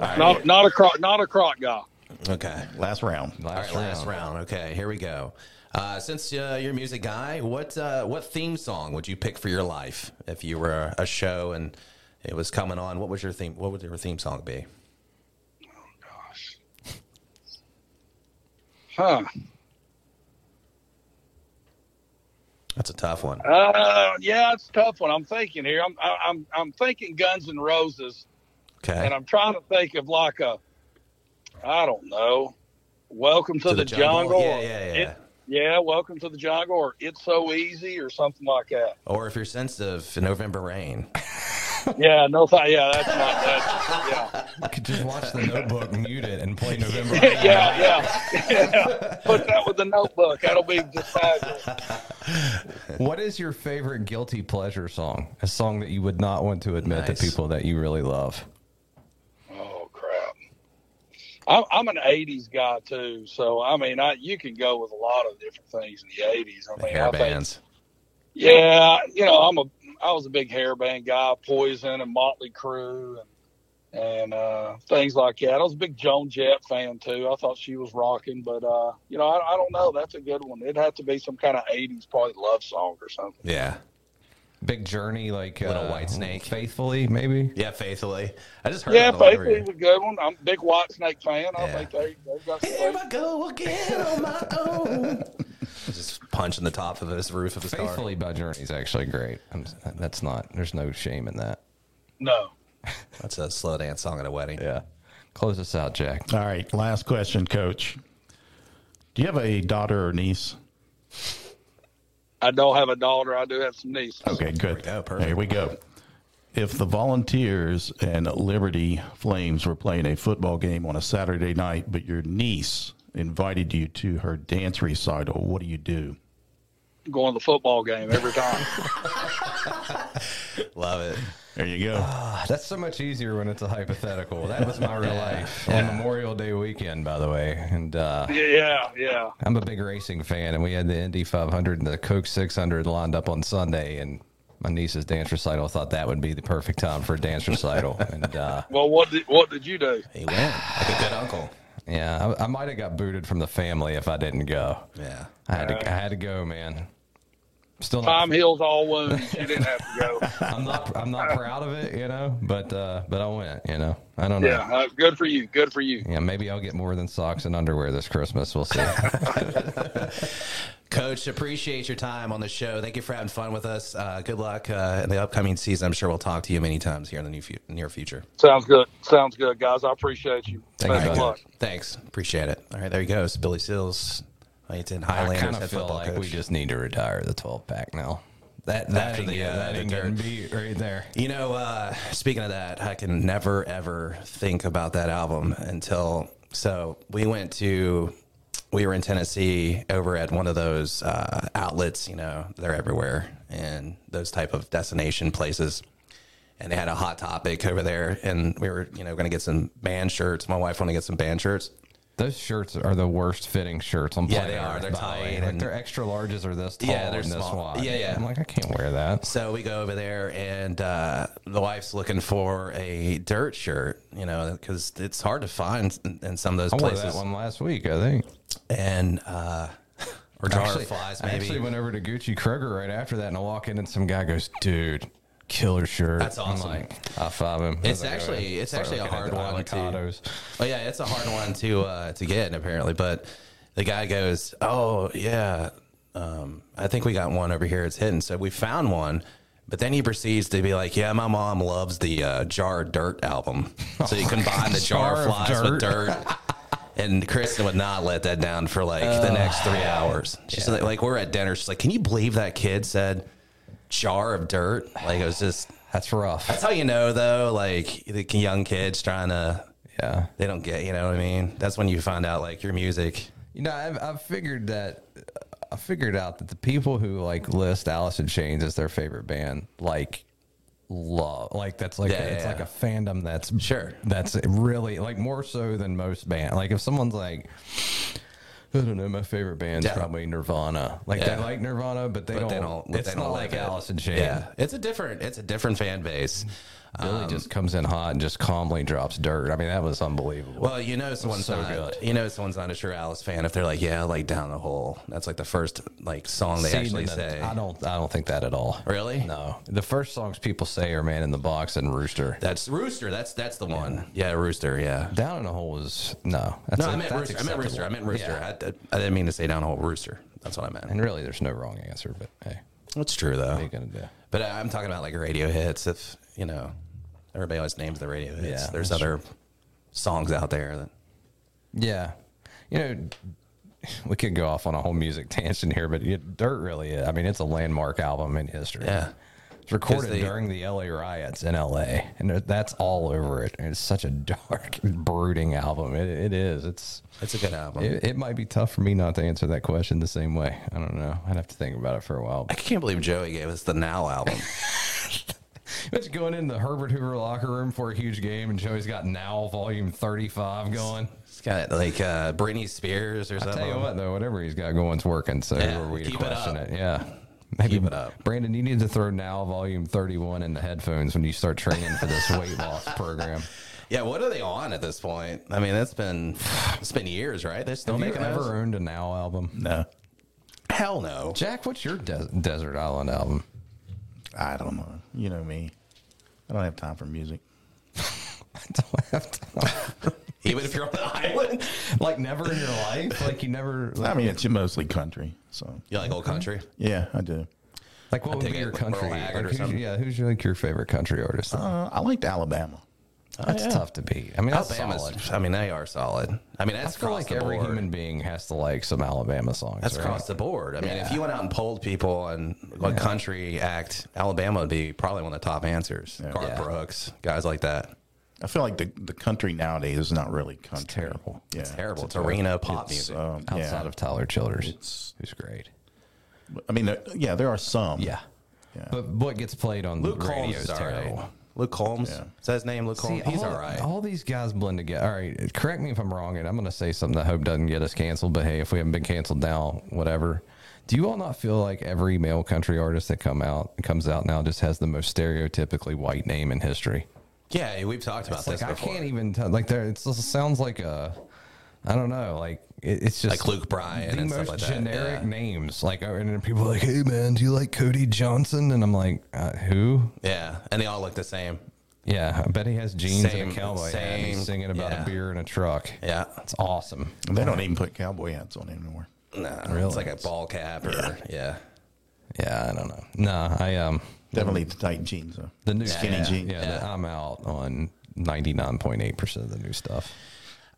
D: Not not a croc not a croc guy.
A: Okay.
B: Last round.
A: All right, last round. Okay, here we go. Uh, since uh, you're a music guy, what uh, what theme song would you pick for your life if you were a show and it was coming on? What was your theme? What would your theme song be?
D: Gosh. Huh.
A: That's a tough one.
D: Uh, yeah, it's a tough one. I'm thinking here. I'm I, I'm I'm thinking Guns and Roses,
A: Okay,
D: and I'm trying to think of like a, I don't know, Welcome to, the, Jungle.
A: Yeah,
D: or
A: yeah, yeah.
D: It- yeah, Welcome to the Jungle, or It's So Easy, or something like that.
A: or if you're sensitive, November Rain.
D: Yeah, no, th- yeah, that's not that.
C: could just watch the Notebook, mute it, and play November.
D: Yeah, yeah, yeah. yeah. Put that with the Notebook. That'll be just fabulous.
C: What is your favorite guilty pleasure song? A song that you would not want to admit
A: Nice.
C: to people that you really love.
D: Oh crap! I'm, I'm an '80s guy too, so I mean, I you can go with a lot of different things in the '80s. I
A: The
D: mean,
A: hair
D: I think,
A: bands.
D: yeah, you know, I'm a I was a big hair band guy, Poison and Motley Crue and and uh, things like that. I was a big Joan Jett fan too. I thought she was rocking, but uh, you know, I, I don't know. That's a good one. It'd have to be some kind of '80s probably love song or something.
A: Yeah,
C: Big Journey, like uh,
A: Little White Snake.
C: Faithfully, maybe.
A: yeah, faithfully. I just heard.
D: Yeah,
A: that all over
D: Faithfully's
A: here.
D: a good one. I'm a big White Snake fan. I
A: Yeah.
D: think they they've got some
A: Here I go again on my own. just punching the top of this roof of his car.
C: Faithfully by Journey is actually great. I'm, uh, that's not. There's no shame in that.
D: no.
A: That's a slow dance song at a wedding.
C: Yeah. Close us out, Jack.
B: All right. Last question, coach. Do you have a daughter or niece?
D: I don't have a daughter. I do have some nieces.
B: Okay, good.
A: go, perfect.
B: Here we go. If the Volunteers and Liberty Flames were playing a football game on a Saturday night, but your niece invited you to her dance recital, what do you do?
D: Going to the football game every time.
A: Love it.
B: There you go.
C: Ah, That's so much easier when it's a hypothetical. That was my real life on Memorial Day weekend, by the way. And uh,
D: yeah, yeah.
C: I'm a big racing fan, and we had the Indy 500 and the Coke 600 lined up on Sunday, and my niece's dance recital thought that would be the perfect time for a dance recital. and uh,
D: Well, what did what did you do?
A: He went like a good uncle.
C: yeah, I, I might have got booted from the family if I didn't go.
A: Yeah.
C: I had to, I had to go, man. Still not
D: Time heals all wounds. You didn't have to go.
C: I'm not I'm not proud of it, you know, but uh but I went, you know. I don't know.
D: Yeah, uh, good for you. Good for you.
C: Yeah, maybe I'll get more than socks and underwear this Christmas. We'll see.
A: Coach, appreciate your time on the show. Thank you for having fun with us. Uh, good luck uh, in the upcoming season. I'm sure we'll talk to you many times here in the new fu- near future.
D: Sounds good. Sounds good, guys. I appreciate you.
C: Thank you,
D: Best of
C: bud.
D: luck.
A: Thanks. Appreciate it. All right, there you go. It's Billy Seals, Huntington
C: I
A: Highlanders
C: kind
A: head
C: of feel
A: football
C: like
A: coach.
C: we just need to retire the 12 pack now. That that
A: After
C: ain't,
A: the,
C: yeah,
A: uh,
C: that
A: the
C: ain't
A: dirt.
C: gonna be right there.
A: you know, uh, speaking of that, I can never ever think about that album until. So we went to, we were in Tennessee over at one of those uh, outlets. You know, they're everywhere and those type of destination places. and they had a hot topic over there and we were you know going to get some band shirts my wife wanted to get some band shirts
C: Those shirts are the worst fitting shirts on
A: Yeah,
C: planet
A: they are.
C: Earth,
A: They're
C: by the way.
A: tight
C: Like
A: and-
C: their extra larges are this tall
A: Yeah, they're
C: and this
A: small.
C: wide.
A: Yeah, yeah.
C: I'm like, I can't wear that.
A: so we go over there and uh, the wife's looking for a dirt shirt you know because it's hard to find in, in some of those
C: I wore
A: places
C: that one last week, I think.
A: and uh, or jar
C: Actually-
A: flies
C: I actually
A: maybe
C: went over to Gucci Kroger right after that, and I walk in, and some guy goes, "Dude, killer shirt."
A: That's
C: I'm
A: awesome.
C: like, high five him.
A: It's
C: I was like,
A: actually-
C: "Oh, yeah."
A: it's
C: Start
A: actually a
C: looking at
A: hard
C: the
A: one, too.
C: avocados.
A: Oh yeah, it's a hard one to uh, to get apparently. But the guy goes, "Oh yeah, um, I think we got one over here. It's hidden." So we found one, But then he proceeds to be like, "Yeah, my mom loves the uh, Jar of Dirt album." So you combine the Jar,
C: Jar
A: of
C: of
A: Flies with Dirt, and Kristen would not let that down for like the next three hours. She's like, like, we're at dinner. She's like, "Can you believe that kid said Jar of Dirt?" Like it was just.
C: That's rough.
A: That's how you know, though. Like the young kids trying to,
C: Yeah.
A: they don't get. You know what I mean? That's when you find out like your music.
C: You know, I've, I've figured that I figured out that the people who like list Alice in Chains as their favorite band, like love, like that's like
A: Yeah,
C: a- it's
A: yeah,
C: like
A: yeah.
C: a fandom that's
A: Sure.
C: that's really like more so than most band. Like if someone's like. I don't know. My favorite band's
A: Yeah.
C: probably Nirvana. Like
A: Yeah.
C: they like Nirvana, but they
A: But
C: don't.
A: they don't.
C: it's
A: they don't
C: not like
A: it.
C: Alice in Chains.
A: Yeah, um, it's a different. It's a different fan base.
C: Billy just comes in hot and just calmly drops dirt. I mean, that was unbelievable.
A: Well, you know someone's
C: so
A: not,
C: good.
A: You know someone's not a sure Alice fan if they're like, yeah, I like down the hole. That's like the first like song they
C: See,
A: actually
C: no, no,
A: say.
C: I don't. I don't think that at all.
A: Really?
C: No. The first songs people say are "Man in the Box" and "Rooster."
A: That's Rooster. That's that's the one. Yeah, Rooster. Yeah.
C: Down in a hole was no. That's
A: No, I
C: a-
A: meant
C: that's
A: Rooster. I meant Rooster. I
C: acceptable.
A: meant Rooster.
C: Yeah.
A: I, I didn't mean to say down the hole Rooster. That's what I meant.
C: And really, there's no wrong answer, but hey,
A: That's true though.
C: what are you gonna do?
A: But I- I'm talking about like radio hits. If you know, everybody always names the radio hits.
C: Yeah,
A: There's
C: that's
A: other songs out there that
C: Yeah, you know, we could go off on a whole music tangent here, but it, Dirt really is. I mean, it's a landmark album in history.
A: Yeah.
C: It's recorded
A: 'Cause they-
C: during the LA riots in LA, and there- that's all over it. And it's such a dark, brooding album. It, it is. It's
A: it's a good album.
C: it, it might be tough for me not to answer that question the same way. I don't know. I'd have to think about it for a while.
A: I can't believe Joey gave us the Now album.
C: Imagine going in the Herbert Hoover locker room for a huge game, and Joey's got now volume thirty-five going.
A: It's got like uh, Britney Spears or
C: I
A: something.
C: tell you what, though, whatever he's got going's working. So
A: Yeah,
C: who are we to
A: keep it
C: question
A: up.
C: it, Yeah. Maybe,
A: Keep it up.
C: Brandon, you need to throw now volume 31 in the headphones when you start training for this weight loss program.
A: Yeah, what are they on at this point? I mean, that's been it's been years, right? They're still
C: Have you
A: making
C: ever
A: those?
C: owned a now album?
B: No,
A: Hell no.
C: Jack, what's your des- Desert Island album?
B: I don't know. You know me. I don't have time for music.
C: I don't have to.
A: Even if you're on the island,
C: like, never in your life? Like, you never.
B: I
C: Like,
B: mean, it's mostly country. So
A: you like old country.
B: yeah, I do.
C: like, what would
A: take
C: be
A: it,
C: your
A: like,
C: country?
A: Merle Haggard
C: Like,
A: or
C: who's,
A: something.
C: yeah, who's your, like, your favorite country artist?
B: Uh, I liked Alabama.
C: that's tough to beat. I mean, that's
A: Alabama's.
C: solid.
A: I mean, they are solid. I mean,
C: I
A: that's
C: feel
A: across
C: like
A: the
C: every
A: board.
C: human being has to like some Alabama songs.
A: That's
C: right?
A: across the board. I mean, if
C: Yeah.
A: you went out and polled people on what country act, Alabama would be probably one of the top answers. Garth
C: Yeah.
A: Brooks, guys like that.
B: I feel like the, the country nowadays is not really country.
C: terrible.
B: Yeah,
A: Terrible. It's, arena pop music.
B: Um,
C: outside
B: yeah.
C: of Tyler Childers, who's great.
B: I mean, there, yeah, there are some. Yeah.
C: But what gets played on
A: Luke
C: the radio
A: Combs
C: is
A: is all right.
C: terrible.
A: Luke Combs.
B: Yeah.
A: Is that his name? Luke Combs. He's
C: all,
A: all right.
C: All these guys blend together. All right, correct me if I'm wrong, and I'm going to say something that I hope doesn't get us canceled. But hey, if we haven't been canceled now, whatever. Do you all not feel like every male country artist that come out comes out now just has the most stereotypically white name in history?
A: yeah, we've talked about
C: It's
A: this
C: like I
A: before.
C: can't e- even tell. Like there, it's, it sounds like a, I don't know. Like it, it's just
A: Like Luke Bryan
C: the
A: and
C: most
A: stuff like that.
C: generic
A: yeah.
C: names. Like uh, and then people are like, hey man, do you like Cody Johnson? And I'm like, uh, who?
A: Yeah, and they all look the same.
C: Yeah, I bet he has jeans
A: Same-
C: and a cowboy hat. and
A: same-
C: He's singing about
A: yeah.
C: a beer and a truck.
A: Yeah,
C: It's awesome.
B: They don't even put cowboy hats on anymore.
A: no, it's like a ball cap or yeah.
C: Yeah, I don't know. No, I um
B: Definitely the tight jeans. Though.
C: the new
B: skinny
C: yeah,
B: jeans.
C: Yeah, the- I'm out on. 99.8% of the new stuff.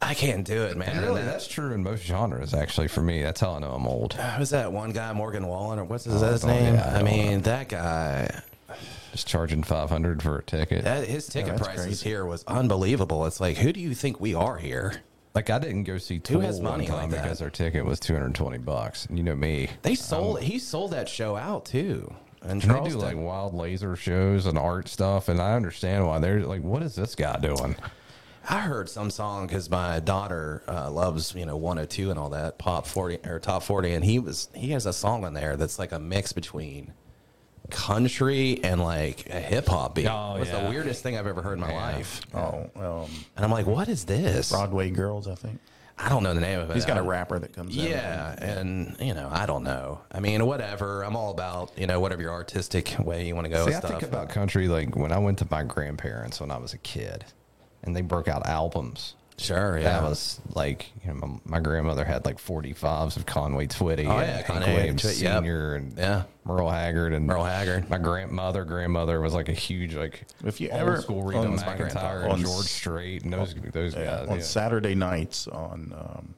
A: I can't do it, man. And
C: Really,
A: that- uh,
C: that's true in most genres, actually, for me. That's how I know I'm old.
A: who's that one guy, Morgan Wallen, or what's his, that his
C: don't-
A: name?
C: Oh, yeah, I
A: I
C: don't
A: mean, that guy.
C: Just charging 500 for a ticket.
A: That his ticket
B: that's
A: prices
B: crazy.
A: here was unbelievable. It's like, who do you think we are here?
C: Like I didn't go see Tool
A: has money
C: one
A: like
C: time
A: that?
C: because our ticket was two hundred twenty bucks. And You know me.
A: They sold. he sold that show out too. And
C: Um, They do like wild laser shows and art stuff, and I understand why they're like, "What is this guy doing?"
A: I heard some song because my daughter uh, loves you know 102 and all that pop 40 or top 40, and he was he has a song on there that's like a mix between country and like a hip hop beat.
C: Oh,
A: it's the
C: yeah.
A: weirdest thing I've ever heard in my life.
B: Oh, um,
A: And I'm like, what is this?
B: Broadway girls. I think
A: I don't know the name of it.
B: he's got a rapper that comes. out.
A: Yeah, and you know, I don't know. I mean, whatever. I'm all about you know whatever your artistic way you want to go.
C: See,
A: with
C: I
A: stuff.
C: think about country like when I went to my grandparents when I was a kid, and they broke out albums
A: Sure, yeah.
C: That was like you know, my, my grandmother had like forty fives of Conway Twitty,
A: Oh,
C: and
A: yeah,
C: Hank
A: Conway
C: Williams
A: Twitty, yep.
C: Senior, and
A: Yeah.
C: Merle Haggard, and
A: Merle Haggard.
C: My grandmother, grandmother was like a huge like
B: If you
C: old
B: ever-
C: school Rita
B: on-
C: McIntyre
B: on-
C: and George Strait and those those guys.
B: on
C: yeah.
B: Saturday nights on um,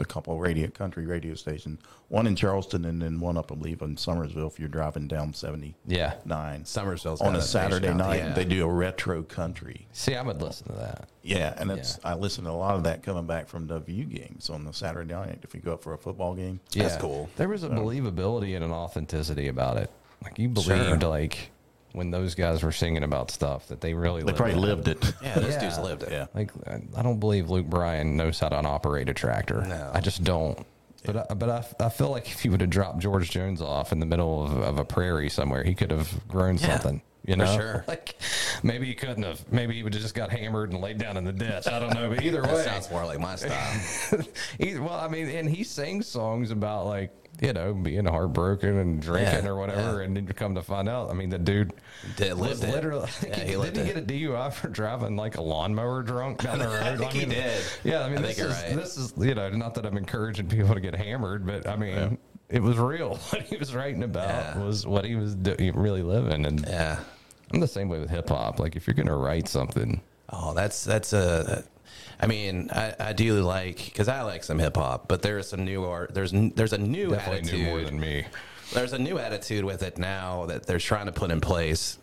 B: a couple of radio country radio stations, one in Charleston and then one up, I believe, in Somersville. If you're driving down seventy
C: Yeah.
B: nine,
A: Somersville's
B: on
A: got
B: a
A: a station
B: Saturday
A: out there.
B: night,
A: Yeah.
B: they do a retro country.
C: See, I would listen to that.
B: Yeah, and it's I listen to a lot of that coming back from the view games on the Saturday night. If you go up for a football game,
C: Yeah.
A: That's cool.
C: There was a believability and an authenticity about it. Like you
A: Sure.
C: believed, like when those guys were singing about stuff that they really
B: they
C: lived
B: probably
C: it.
B: lived it.
A: Yeah, those
C: Yeah.
A: dudes lived it.
B: Yeah.
C: Like I- I don't believe Luke Bryan knows how to operate a tractor.
A: No.
C: I just don't. But I, but I, I feel like if you would have dropped George Jones off in the middle of, of a prairie somewhere, he could have grown
A: Yeah.
C: something. You
A: For
C: know,
A: sure.
C: like maybe he couldn't have. Maybe he would have just got hammered and laid down in the ditch. I don't know. But either
A: That
C: way,
A: sounds more like my style.
C: He, well, I mean, and he sings songs about like you know being heartbroken and drinking
A: Yeah,
C: or whatever, and then you come to find out, I mean, the dude
A: Did,
C: was
A: lived it.
C: literally
A: Yeah, he
C: he
A: lived
C: did he
A: it.
C: get a DUI for driving like a lawnmower drunk down the road?
A: I think he did.
C: Yeah, I mean,
A: I
C: this
A: think
C: is
A: you're right.
C: this is you know not that I'm encouraging people to get hammered, but I mean. It was real. What he was writing about
A: Yeah.
C: was what he was do- really living, and
A: Yeah.
C: I'm the same way with hip hop. Like, if you're gonna write something,
A: Oh, that's that's a. I mean, I, I do like because I like some hip hop, but there is some new art. There's n- there's a new
C: definitely
A: attitude.
C: knew more than me.
A: there's a new attitude with it now that they're trying to put in place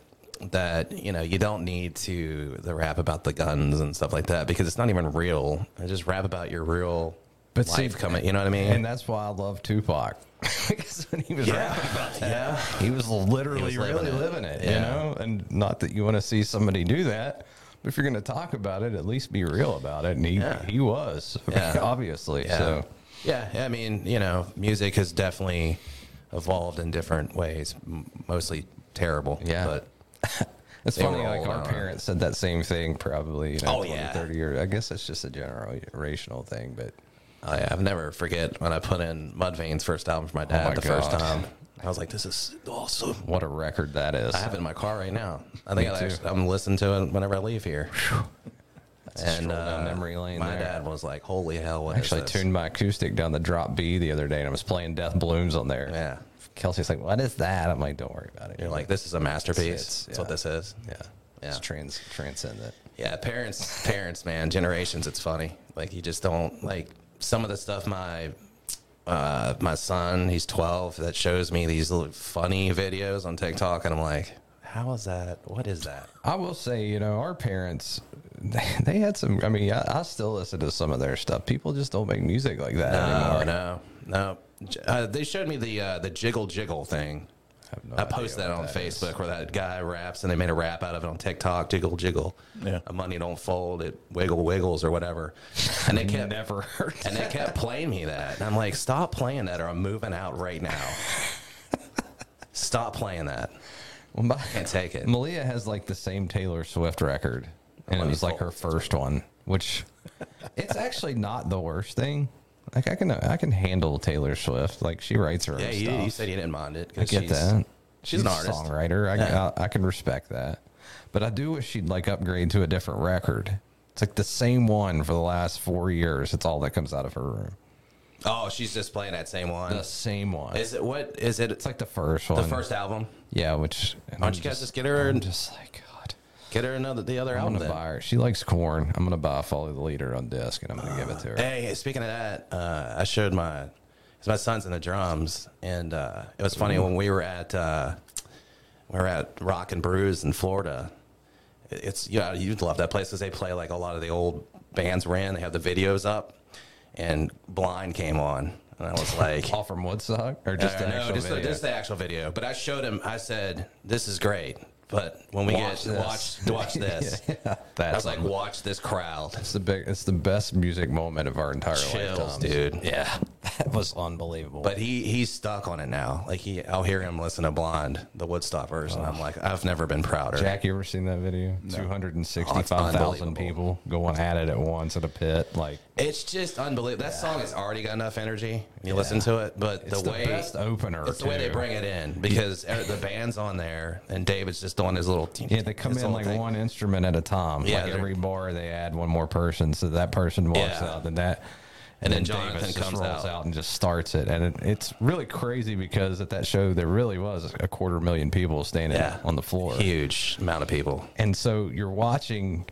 A: that you know you don't need to the rap about the guns and stuff like that because it's not even real. I just rap about your real
C: But see-
A: life coming. You know what I mean?
C: And that's why I love Tupac. because when he was rapping about that, he was literally
A: He was living
C: really
A: it.
C: living it, you
A: Yeah.
C: know? And not that you want to see somebody do that, but if you're going to talk about it, at least be real about it. And he,
A: Yeah.
C: he was,
A: Yeah.
C: obviously.
A: Yeah.
C: So,
A: yeah, I mean, you know, music has definitely evolved in different ways, m- mostly terrible.
C: Yeah.
A: But
C: it's
A: They
C: funny,
A: were
C: like
A: all
C: our
A: around.
C: parents said that same thing probably, you know,
A: Oh,
C: 20,
A: yeah.
C: 30 years. I guess it's just a generational thing, but
A: I, I've never forget when I put in Mudvayne's first album for my
C: Oh
A: dad
C: my
A: the first
C: God.
A: time. I was like, this is awesome.
C: what a record that is.
A: I have it in my car right now. I think
C: Me
A: I
C: too.
A: actually, I'm listening to it whenever I leave here. and uh,
C: stroll down memory lane
A: my
C: there.
A: dad was like, "Holy hell!" What is
C: actually
A: this?
C: tuned my acoustic down the drop B the other day and I was playing Death Blooms on there.
A: Yeah.
C: Kelsey's like, What is that? I'm like, Don't worry about it.
A: You're like, "This is a masterpiece."
C: It's-
A: That's what
C: yeah.
A: this is.
C: Yeah.
A: Yeah.
C: It's trans transcendent.
A: Yeah, parents, parents, man, generations. It's funny. Like you just don't like some of the stuff. My uh, my son, he's twelve, that shows me these little funny videos on TikTok, and I'm like, "How is that? What is that?"
C: I will say, you know, our parents they, they had some I mean, I, I still listen to some of their stuff. People just don't make music like that
A: No,
C: anymore.
A: no, no. J- Uh, they showed me the uh, the jiggle jiggle thing.
C: have no
A: I
C: idea
A: posted that
C: Oh, what
A: on
C: that
A: Facebook where that guy raps and they made a rap out of it on TikTok. Jiggle jiggle.
B: Yeah.
A: A money don't fold. It wiggle wiggles or whatever. And they kept
C: Never heard
A: and they kept playing me that. And I'm like, stop playing that or I'm moving out right now. stop playing that.
C: Well, my-
A: Can't take it.
C: Malia has like the same Taylor Swift record,
A: Oh,
C: and it was like her first one, which it's actually not the worst thing. Like I can I can handle Taylor Swift. Like she writes her own
A: Yeah, you,
C: stuff.
A: you said you didn't mind it. 'cause
C: I get
A: she's-
C: that.
A: She's, an artist.
C: a songwriter. I, I I can respect that, but I do wish she'd like upgrade to a different record. It's like the same one for the last four years. It's all that comes out of her room.
A: Oh, she's just playing that same one.
C: The same one. It's
A: Is it what is it? It's
C: like the first
A: the
C: one.
A: first album.
C: yeah. Which
A: Why don't you guys just get her
C: I'm
A: and
C: just like God.
A: Get her another the other
C: I'm
A: album.
C: gonna
A: Then.
C: buy her. She likes corn. I'm gonna buy Follow the Leader on disc, and I'm gonna give it to her.
A: Hey, hey, speaking of that, uh, I showed my because my son's in the drums, and uh, it was funny when we were at uh, we were at Rock and Brews in Florida. It- It's you know you'd love that place because they play like a lot of the old bands ran. They have the videos up, and Blind came on, and I was like,
C: All from Woodstock, or just
A: Uh,
C: the
A: no,
C: actual
A: Oh, just, the-
C: video?
A: just the actual video. But I showed him. I said, "This is great." But when we
C: Watch
A: get
C: this.
A: watch watch this, I was
C: That's
A: like, "Watch this crowd."
C: it's the big. It's the best music moment of our entire
A: Chills,
C: lifetime,
A: dude.
C: Yeah, That was unbelievable.
A: But he he's stuck on it now. Like he, I'll hear him listen to Blonde, the Woodstoppers, and I'm like, I've never been prouder.
C: Jack, you ever seen that video? Two hundred and sixty-five
A: Oh,
C: thousand people going at it at once at a pit. Like
A: It's just unbelievable. That song has already got enough energy. You listen to it, but
C: it's
A: the
C: the,
A: way
C: best opener.
A: it's the way they
C: too.
A: bring it in because er- the band's on there and David's just doing his little.
C: Yeah, they come
A: his
C: in
A: little
C: like
A: thing.
C: one instrument at a time.
A: Yeah,
C: like
A: they're-
C: every bar they add one more person, so that person walks
A: Yeah.
C: out, then that,
A: And then Jonathan
C: just
A: comes
C: rolls
A: out.
C: and just starts it. And it, it's really crazy because at that show there really was a quarter million people standing
A: Yeah.
C: on the floor,
A: huge amount of people.
C: and so you're watching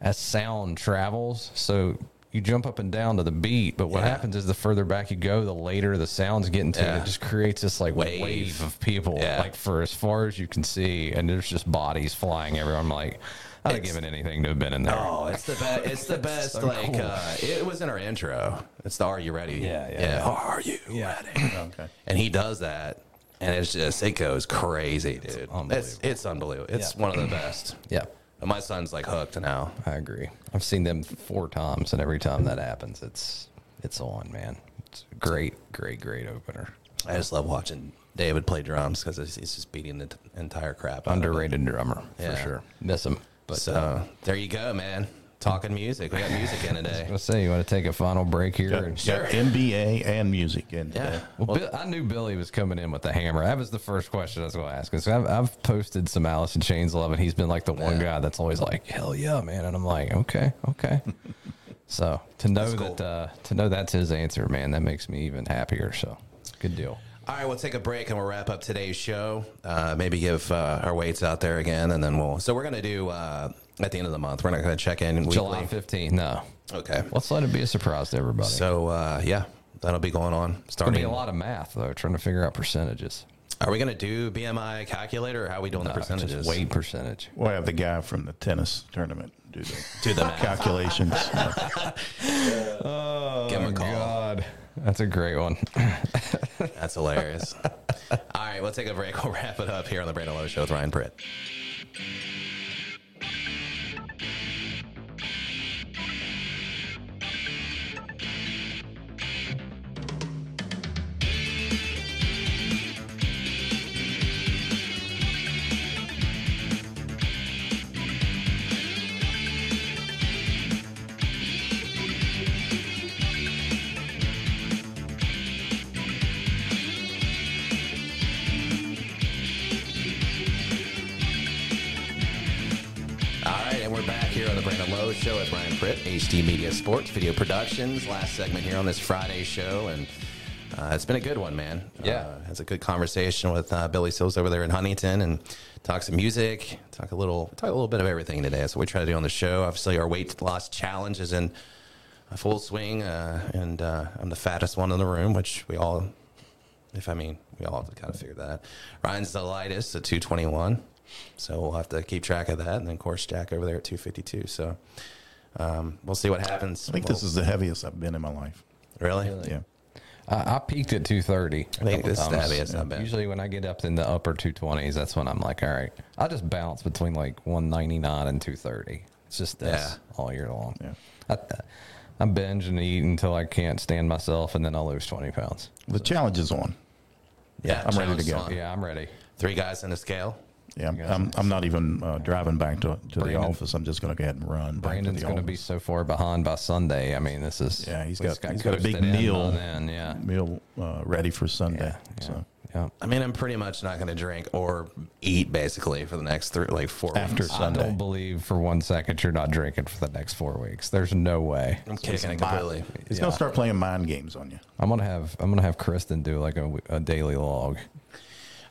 C: as sound travels. So you jump up and down to the beat, but what
A: Yeah.
C: happens is the further back you go, the later the sound's getting to.
A: Yeah.
C: It just creates this like
A: Wave.
C: wave, of people,
A: Yeah.
C: like for as far as you can see, and there's just bodies flying everywhere. I'm like, I'd have given anything to have been in there.
A: Oh, it's the best. It's the best.
C: so
A: like
C: cool.
A: uh, it was in our intro. It's the Are You Ready?
C: Yeah, yeah, yeah.
A: Are you ready?
B: Okay.
A: And he does that, and it's just it goes crazy, dude. It's
C: unbelievable.
A: It's, unbelievable. It's
C: Yeah.
A: one of the best.
C: Yeah,
A: And my son's like hooked now.
C: I agree. I've seen them four times, and every time that happens, it's it's on, man. It's a great, great, great opener.
A: I just love watching David play drums because he's he's just beating the t- entire crap. out of it.
C: Underrated drummer
A: Yeah.
C: for sure. Miss him, but.
A: So there you go, man. Talking music. We got music in today.
C: Let's say you want to take a final break here.
B: Got,
C: and-
B: got MBA and uh, music in
A: Yeah.
B: today.
C: Well, Bill, I knew Billy was coming in with the hammer. That was the first question I was going to ask. So I've, I've posted some Alice in Chains love, and he's been like the one guy that's always like, "Hell yeah, man!" And I'm like, "Okay, okay." so to know
A: cool.
C: that uh, to know that's his answer, man, that makes me even happier. So good deal.
A: All right, we'll take a break and we'll wrap up today's show. Uh, maybe give uh, our weights out there again, and then we'll. So we're gonna do uh, at the end of the month. We're not gonna check in. Weekly.
C: July 15th. No,
A: Okay.
C: let's let it be a surprise to everybody.
A: So uh, yeah, that'll be going on
C: It'll
A: starting.
C: be a lot of math though, trying to figure out percentages.
A: Are we gonna do BMI calculator? Or how are we doing the percentages?
C: Just weight percentage.
B: We'll have the guy from the tennis tournament do the,
A: Do the math.
B: calculations. Yeah.
A: Give him a call.
C: Oh God, that's a great one.
A: That's hilarious. All right, we'll take a break. We'll wrap it up here on the Brandon Lowe Show with Ryan Britt. All right, and we're back here on the Brandon Lowe Show with Ryan Pritt, HD Media Sports Video Productions. Last segment here on this Friday show, and uh, it's been a good one, man.
C: Yeah.
A: uh, has a good conversation with uh, Billy Sills over there in Huntington, and talk some music, talk a little, talk a little bit of everything today. That's what we try to do on the show. Obviously, our weight loss challenge is in full swing, uh, and uh, I'm the fattest one in the room, which we all, if I mean, we all have to kind of figure that. out. Ryan's the lightest at 221, so we'll have to keep track of that, and then of course Jack over there at 252. So um, we'll see what happens.
B: I think this is the heaviest I've been in my life.
A: really,
B: Yeah.
C: I, I peaked at 230.
A: I think this is the heaviest I've been.
C: Usually, when I get up in the upper 220s, that's when I'm like, all right, I just bounce between like 199 and 230. It's just this
A: Yeah.
C: all year long.
B: Yeah.
C: I, I binge and eat until I can't stand myself, and then I'll lose 20 pounds.
B: The challenge is on.
A: yeah,
B: I'm ready to
A: challenge
B: go.
A: song.
C: Yeah, I'm ready.
A: Three guys in a scale.
B: Yeah, I'm, I'm, I'm not even uh, driving back to, to the
C: Brandon-
B: office. I'm just going to go ahead and run. back
C: Brandon's
B: to
C: going to be so far behind by Sunday. I mean, this is
B: Yeah, he's
C: this
B: got-
C: guy
B: he's got a
C: coasted
B: big
C: in by
B: meal.
C: Then, yeah,
B: meal uh, ready for Sunday.
C: yeah,
B: So
C: yeah.
A: I mean, I'm pretty much not going to drink or eat basically for the next three, like four
B: after
A: weeks.
C: I
B: Sunday,
C: don't believe for one second you're not drinking for the next four weeks. There's no way.
A: I'm kicking it completely.
B: he's going to start playing mind games on you.
C: I'm gonna have I'm gonna have Kristen do like a, a daily log.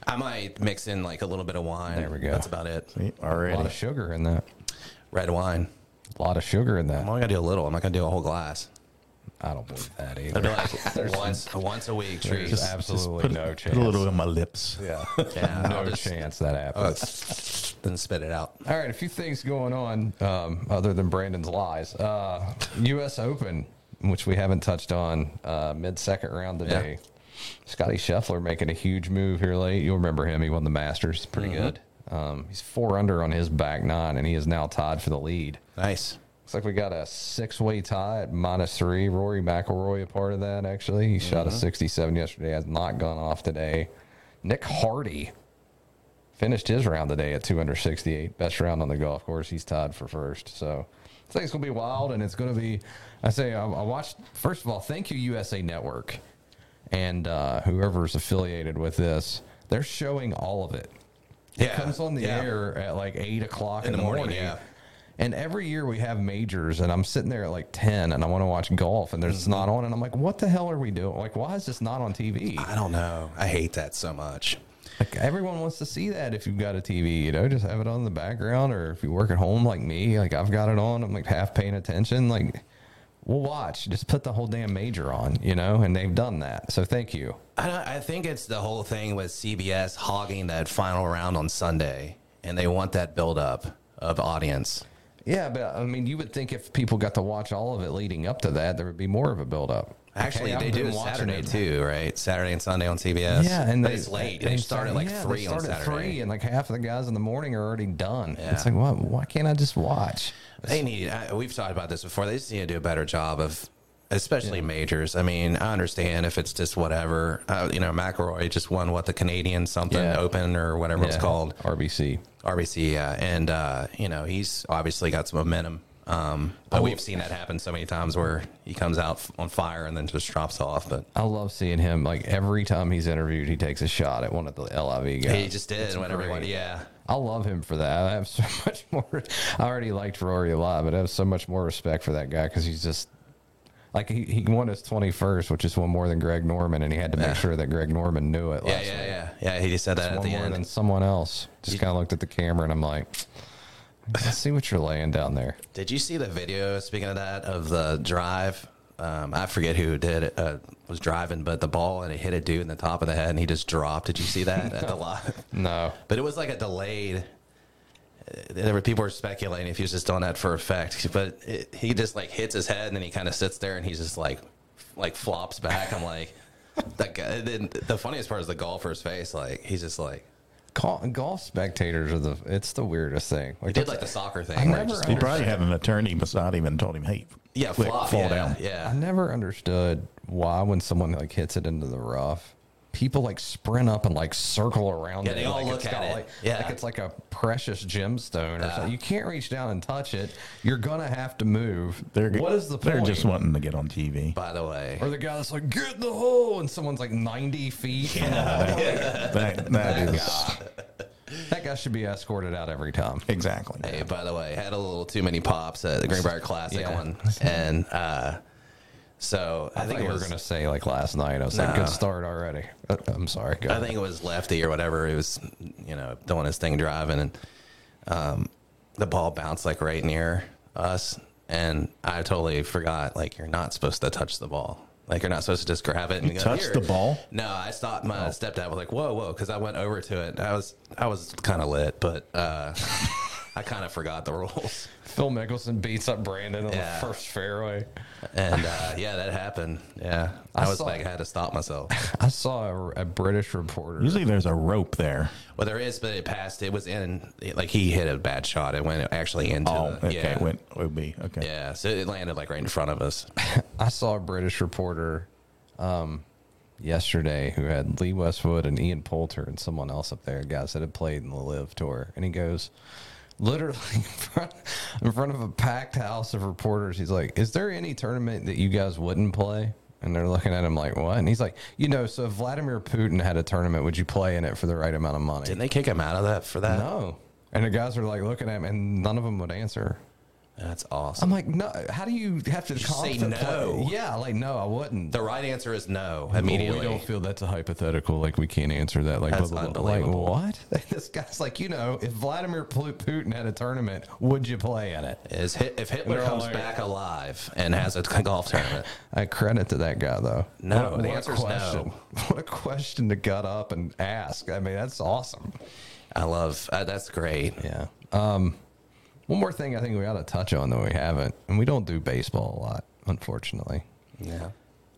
A: I might mix in like a little bit of wine.
C: There we go.
A: That's about it.
B: See,
C: A lot
B: already.
C: of sugar in that.
A: Red wine.
C: A lot of sugar in
A: I'm
C: that.
A: only gonna do a little. I'm not gonna do a whole glass.
C: I don't believe that
A: I'd
C: either.
A: be like once once a week treat.
C: There's absolutely
B: put,
C: no
B: put
C: chance.
B: a little in my lips.
C: yeah,
A: Yeah, I'll
C: no
A: just-
C: chance that
A: Uh,
C: happens.
A: then spit it out.
C: All right, a few things going on um, other than Brandon's lies. Uh, U.S. Open, which we haven't touched on, uh, mid second round today. Scotty Scheffler making a huge move here late. You'll remember him. He won the Masters. Pretty good. Um, he's four under on his back nine, and he is now tied for the lead.
A: Nice.
C: Looks like we got a six way tie at minus three. Rory McIlroy a part of that actually. He shot a sixty seven yesterday. Has not gone off today. Nick Hardy finished his round today at two under sixty eight. Best round on the golf course. He's tied for first. So I think it's gonna be wild, and it's gonna be. I say I, I watched. First of all, thank you USA Network, and uh, whoever's affiliated with this. They're showing all of it. It
A: Yeah,
C: comes on the
A: yeah.
C: air at like eight o'clock
A: In
C: in,
A: the
C: the
A: morning,
C: morning.
A: yeah.
C: And every year we have majors, and I'm sitting there at like ten, and I want to watch golf, and
A: Mm-hmm.
C: there's it's not on, and I'm like, what the hell are we doing? Like, why is this not on TV?
A: I don't know. I hate that so much.
C: Like, everyone wants to see that if you've got a TV, you know, just have it on in the background, or if you work at home like me, like I've got it on, I'm like half paying attention, like. We'll watch. Just put the whole damn major on, you know, and they've done that. So thank you.
A: I, don't, I think it's the whole thing with CBS hogging that final round on Sunday, and they want that buildup of audience.
C: Yeah, but I mean, you would think if people got to watch all of it leading up to that, there would be more of a buildup.
A: Actually,
C: Okay,
A: they
C: I've
A: do
C: been
A: it
C: watching
A: Saturday
C: it.
A: too, right? Saturday and Sunday on CBS.
C: Yeah, and
A: but
C: they,
A: it's late. They, start at like
C: yeah, they
A: three on
C: start at
A: Saturday.
C: Three, and like half of the guys in the morning are already done.
A: Yeah.
C: It's like, why, why can't I just watch?
A: They need. I, we've talked about this before. They just need to do a better job of, especially majors. I mean, I understand if it's just whatever. Uh, you know, McElroy just won what the Canadian something
C: Yeah.
A: Open or whatever it's
C: Yeah.
A: called,
C: RBC.
A: RBC. Yeah, and uh, you know he's obviously got some momentum. Um,
C: Oh.
A: but we've seen that happen so many times where he comes out f- on fire and then just drops off. But
C: I love seeing him. Like every time he's interviewed, he takes a shot at one of the LIV guys.
A: he just did when everybody.
C: great.
A: Yeah,
C: I love him for that. I have so much more. I already liked Rory a lot, but I have so much more respect for that guy because he's just like he, he won his twenty first, which is one more than Greg Norman, and he had to make sure that Greg Norman knew it.
A: yeah,
C: last
A: yeah,
C: night.
A: yeah, yeah. He just said that at
C: one
A: the
C: more
A: end.
C: than someone else. Just kind of looked at the camera and I'm like, I see what you're laying down there.
A: Did you see the video? Speaking of that, of the drive, um, I forget who did it, uh, was driving, but the ball and it hit a dude in the top of the head, and he just dropped. Did you see that at the lot?
C: No,
A: But it was like a delayed. uh, There were people were speculating if he was just on that for effect, but it, he just like hits his head and then he kind of sits there and he's just like, like flops back. I'm like, that guy. Then the funniest part is the golfer's face. Like he's just like
C: Col- golf spectators are the. It's the weirdest thing.
A: he
C: Like,
A: did like the soccer thing. where
C: I
A: he
C: never
A: just-
B: He probably had an attorney beside him and told him, "Hey,
A: yeah,
B: quick,
A: flop,
B: fall
A: yeah,
B: down."
A: Yeah,
C: I never understood why when someone like hits it into the rough, people like sprint up and like circle around
A: Yeah,
C: it.
A: they all
C: like
A: look
C: it's
A: at
C: got,
A: it.
C: Like,
A: Yeah.
C: like it's like a precious gemstone or something. You can't reach down and touch it. You're gonna have to move.
B: They're,
C: what is the
B: They're
C: point?
B: just wanting to get on TV.
A: By the way,
C: or the guy that's like, get in the hole, and someone's like 90 feet. from the
B: That, that is
C: That guy should be escorted out every time.
B: exactly.
A: Hey, by the way, I had a little too many pops at the Greenbrier Classic
C: Yeah.
A: one, and uh, so I,
C: I
A: think
C: think
A: it
C: we were
A: was.
C: gonna say like last night. I was like,
A: Nah.
C: good start already. Uh, I'm sorry. Go
A: I think it was Lefty or whatever. He was, you know, doing his thing driving, and um, the ball bounced like right near us, and I totally forgot. Like you're not supposed to touch the ball. Like you're not supposed to just grab it and go,
B: touched
A: "Here."
B: the ball?
A: No, I stopped. My stepdad was like, "Whoa, whoa!" Because I went over to it. I was, I was kind of lit, but uh, I kind of forgot the rules.
C: Phil Mickelson beats up Brandon on
A: Yeah.
C: the first fairway.
A: And uh, yeah, that happened. Yeah, I,
C: I
A: was
C: saw-
A: like, I had to stop myself.
C: I saw a, a British reporter.
B: Usually there's a rope there.
A: Well, there is, but it passed. It was in. It, like he hit a bad shot. It went actually into.
B: Oh,
A: the,
B: okay.
A: yeah,
B: Went would be okay.
A: yeah. So it landed like right in front of us.
C: I saw a British reporter um, yesterday who had Lee Westwood and Ian Poulter and someone else up there, guys that had played in the Live Tour, and he goes. Literally in front, in front of a packed house of reporters, he's like, "Is there any tournament that you guys wouldn't play?" And they're looking at him like, "What?" And he's like, "You know, so if Vladimir Putin had a tournament, would you play in it for the right amount of money?"
A: Didn't they kick him out of that for that?
C: no. And the guys were like looking at him, and none of them would answer.
A: That's
C: I'm
A: awesome.
C: like, no. How do you have to
A: say
C: confident-
A: no.
C: Yeah, like no, I wouldn't.
A: the right answer is no.
C: Well,
A: Immediately.
C: We don't feel that's a hypothetical. Like we can't answer that. Like
A: That's
C: blah, blah, blah. Like,
A: unbelievable.
C: what? this guy's like, you know, if Vladimir Pl- Putin had a tournament, would you play in it?
A: is Hit, if Hitler
C: They're
A: comes
C: like-
A: back alive and has a golf tournament?
C: I credit to that guy though.
A: No,
C: What a-
A: the
C: what a
A: answer's no.
C: question. What a question to gut up and ask. I mean, that's awesome.
A: I love. Uh, that's great.
C: Yeah. Um, one more thing I think we ought to touch on that we haven't, and we don't do baseball a lot, unfortunately.
A: Yeah.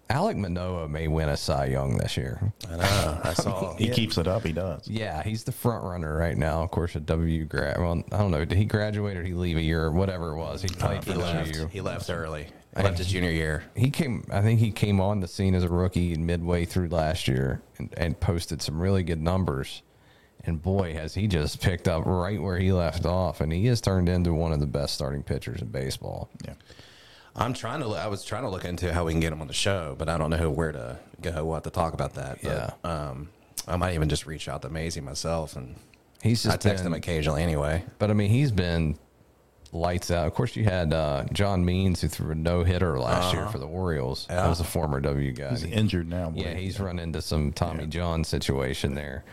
C: Alec Manoa may win a Cy Young this year.
A: I know. I saw.
B: He keeps it up. He does.
C: Yeah, he's the front runner right now. Of course, a W grad. Well, I don't know. Did he graduate or did he leave a year or whatever it was? He played
A: Uh, he
C: for
A: left.
C: left.
A: He left early. left his junior year.
C: He came. I think he came on the scene as a rookie midway through last year and, and posted some really good numbers. And boy, has he just picked up right where he left off, and he has turned into one of the best starting pitchers in baseball.
B: Yeah.
A: I'm trying to. I was trying to look into how we can get him on the show, but I don't know where to go. We'll have to talk about that.
C: Yeah.
A: But, um, I might even just reach out to Maisie myself, and
C: He's just
A: I text
C: been-
A: him occasionally anyway.
C: But I mean, he's been lights out. Of course, you had uh, John Means who threw a no hitter last
A: Uh-huh.
C: year for the Orioles. That was a former W guy.
B: He's injured now.
C: yeah,
B: but-
C: he's run into some Tommy John situation there.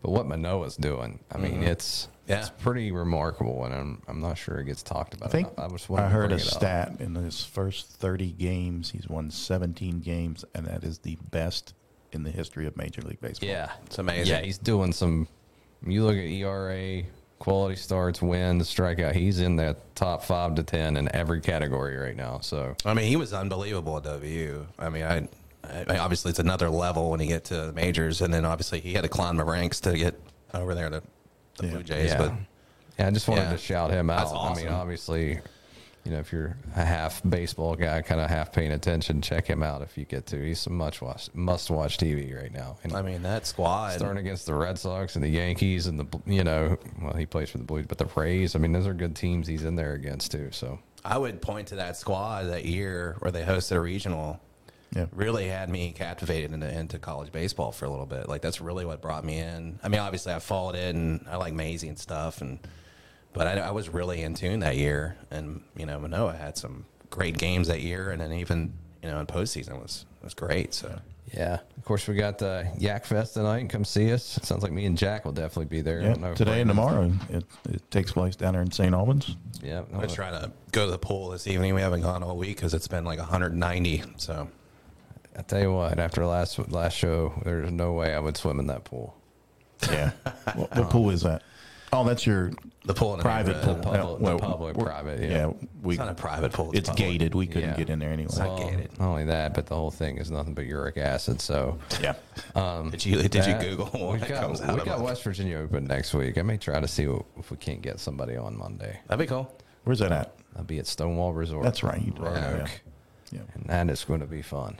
C: But what Manoa's doing, I mean,
B: Mm-hmm.
C: it's
A: Yeah.
C: it's pretty remarkable, and I'm I'm not sure it gets talked about.
B: I think
C: enough.
B: I,
C: just wanted to
B: heard a
C: bring it up.
B: stat in his first 30 games, he's won 17 games, and that is the best in the history of Major League Baseball.
C: Yeah,
A: It's amazing.
C: yeah, he's doing some. You look at ERA, quality starts, wins, strikeout. He's in the top five to ten in every category right now. So
A: I mean, he was unbelievable at W. I mean, I, I obviously it's another level when you get to the majors, and then obviously he had to climb the ranks to get over there to the Blue Jays.
C: Yeah.
A: But
C: Yeah, I just wanted
A: Yeah.
C: to shout him out.
A: That's
C: I mean,
A: awesome.
C: obviously, you know, if you're a half baseball guy, kind of half paying attention, check him out if you get to. He's some much watch, must watch TV right now. And
A: I mean, that squad.
C: starting against the Red Sox and the Yankees and the Bl- you know, well, he plays for the Blues, but the Rays. I mean, those are good teams he's in there against too. So
A: I would point to that squad that year where they hosted a regional.
B: Yeah.
A: Really had me captivated into, into college baseball for a little bit. Like that's really what brought me in. I mean, obviously I followed it and I like Maisie and stuff, and but I, I was really in tune that year. And you know, Manoa had some great games that year, and then even you know in postseason was was great. So
C: yeah, of course we got the Yak Fest tonight. Come see us. Sounds like me and Jack will definitely be there. I
B: Yeah,
C: don't know if
B: Today and
C: Brandon's-
B: tomorrow, it, it takes place down there in St. Albans.
C: Yeah,
A: I'm gonna try to go to the pool this evening. We haven't gone all week because it's been like 190. So
C: I tell you what, after last last show, there's no way I would swim in that pool.
B: Yeah. what, what pool is that? Oh, that's your
A: the pool in the
B: private pool.
A: neighborhood.
C: The
B: Yeah,
C: public- the public,
B: we're-
C: private, yeah.
B: Yeah, we,
A: It's not a private pool.
B: it's
A: public.
B: gated. We couldn't
C: Yeah.
B: get in there anyway.
A: not gated.
C: Not only that, but the whole thing is nothing but uric acid. So
B: yeah.
A: Did you did you
C: um, that-
A: Google what
C: we've got,
A: comes out
C: we
A: of
C: got
A: it?
C: West Virginia open next week. I may try to see what, if we can't get somebody on Monday.
A: That'd be cool.
B: Where's that at?
C: I'll be at Stonewall Resort.
B: That's right. You told me,
C: Roanoke,
B: Yeah.
C: and that is going to be fun.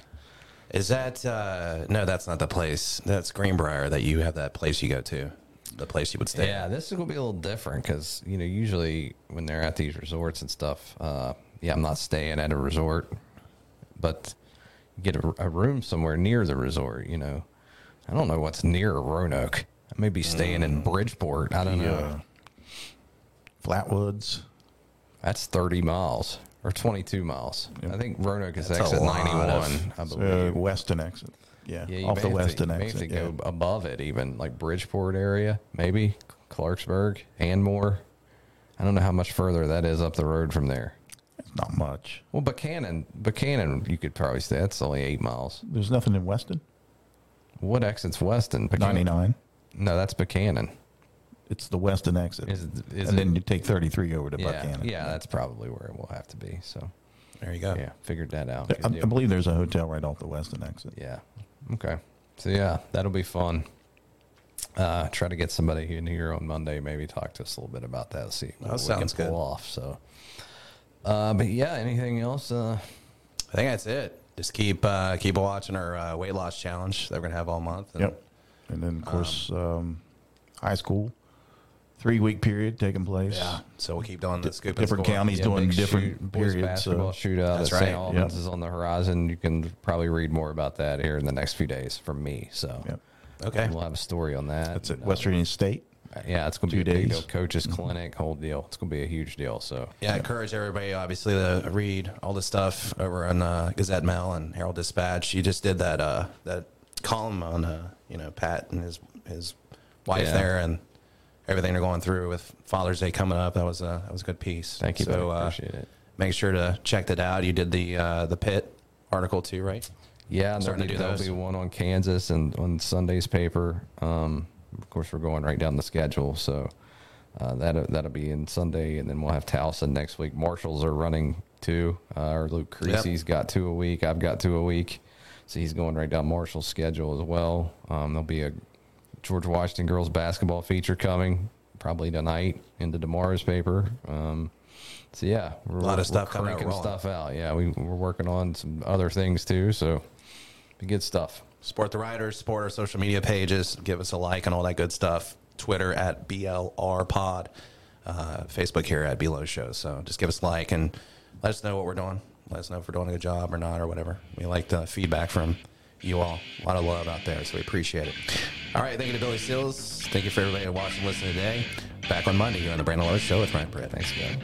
A: Is that uh no? That's not the place. That's Greenbrier. That you have that place you go to, the place you would stay.
C: Yeah, this is going to be a little different because you know usually when they're at these resorts and stuff, uh, yeah, I'm not staying at a resort, but get a, a room somewhere near the resort. You know, I don't know what's near Roanoke. I may be staying in Bridgeport. I don't
B: Yeah.
C: know.
B: Flatwoods.
C: That's 30 miles or 22 miles. I think Roanoke is
A: That's a
C: exit
A: lot
C: 91,
A: of-
C: I believe.
B: Uh, western exit. Yeah.
C: you
B: Off the
C: may have to-
B: western
C: you may have
B: exit.
C: to
B: yeah.
C: go above it, even like Bridgeport area, maybe Clarksburg, Anmore. I don't know how much further that is up the road from there.
B: It's not much.
C: Well, Buchanan, Buchanan, you could probably say that's only eight miles.
B: There's nothing in Weston.
C: What exits Weston? Buchanan.
B: 99.
C: No, that's Buchanan.
B: It's the western exit.
C: Is it- is
B: and then
C: it-
B: you take 33 over to
C: Yeah,
B: Buchanan.
C: yeah, that's probably where it will have to be. So,
A: there you go.
C: yeah, figured that out.
B: I,
C: Good
B: I
C: deal.
B: believe there's a hotel right off the western exit.
C: Yeah. Okay. So yeah, that'll be fun. Uh, try to get somebody in here on Monday. Maybe talk to us a little bit about that. See what
A: sounds
C: pull
A: good.
C: off. So, uh, but yeah, anything else? Uh,
A: I think that's it. Just keep uh keep watching our uh, weight loss challenge that we're gonna have all month. And
B: Yep. And then, of course, um, high school, three week period taking place.
A: Yeah. So we'll keep doing the scoop. and
B: Different
A: score.
B: counties
C: yeah,
B: doing
C: big
B: different
C: shoot- boys
B: periods.
C: basketball
B: So,
C: shootout
A: That's
C: at St.
A: right.
C: Albans
B: Yep.
C: is on the horizon. You can probably read more about that here in the next few days from me. So,
B: Yep.
A: Okay.
C: we'll have a story on that.
B: that's it.
C: And, uh,
B: West Virginia State.
C: yeah, it's going to be
B: Two
C: a big
B: days.
C: deal. Coaches clinic, whole deal. It's going to be a huge deal. So,
A: Yeah, I encourage everybody obviously to read all the stuff over on uh, Gazette Mail and Herald Dispatch. You just did that uh, that column on uh, you know Pat and his his wife
C: Yeah.
A: there and everything they're going through with Father's Day coming up. That was a that was a good piece.
C: Thank you,
A: So
C: buddy.
A: uh,
C: Appreciate it.
A: make sure to check that out. You did the uh, the pit article too, right?
C: Yeah, and
A: Starting
C: there'll, be,
A: to do
C: there'll
A: those.
C: be one on Kansas and on Sunday's paper. Um, of course, we're going right down the schedule, so uh, that that'll be in Sunday, and then we'll have Towson next week. Marshalls are running two. Uh, or Luke Creasy's got two a week. I've got two a week. So he's going right down Marshall's schedule as well. Um, there'll be a George Washington girls basketball feature coming probably tonight into tomorrow's paper. Um, so yeah,
A: a lot of stuff coming out
C: cranking
A: wrong.
C: stuff out. Yeah, we, we're working on some other things too. So be good stuff.
A: Support the writers, support our social media pages, give us a like and all that good stuff. Twitter at BLR Pod, uh, Facebook here at Below Show. So just give us a like and let us know what we're doing. Let us know if we're doing a good job or not or whatever. We like the feedback from you all. A lot of love out there, so we appreciate it. All right, thank you to Billy Seals. Thank you for everybody that watched and listened today. Back on Monday here on the Brandon Lowe Show with Ryan Britt.
C: Thanks, guys.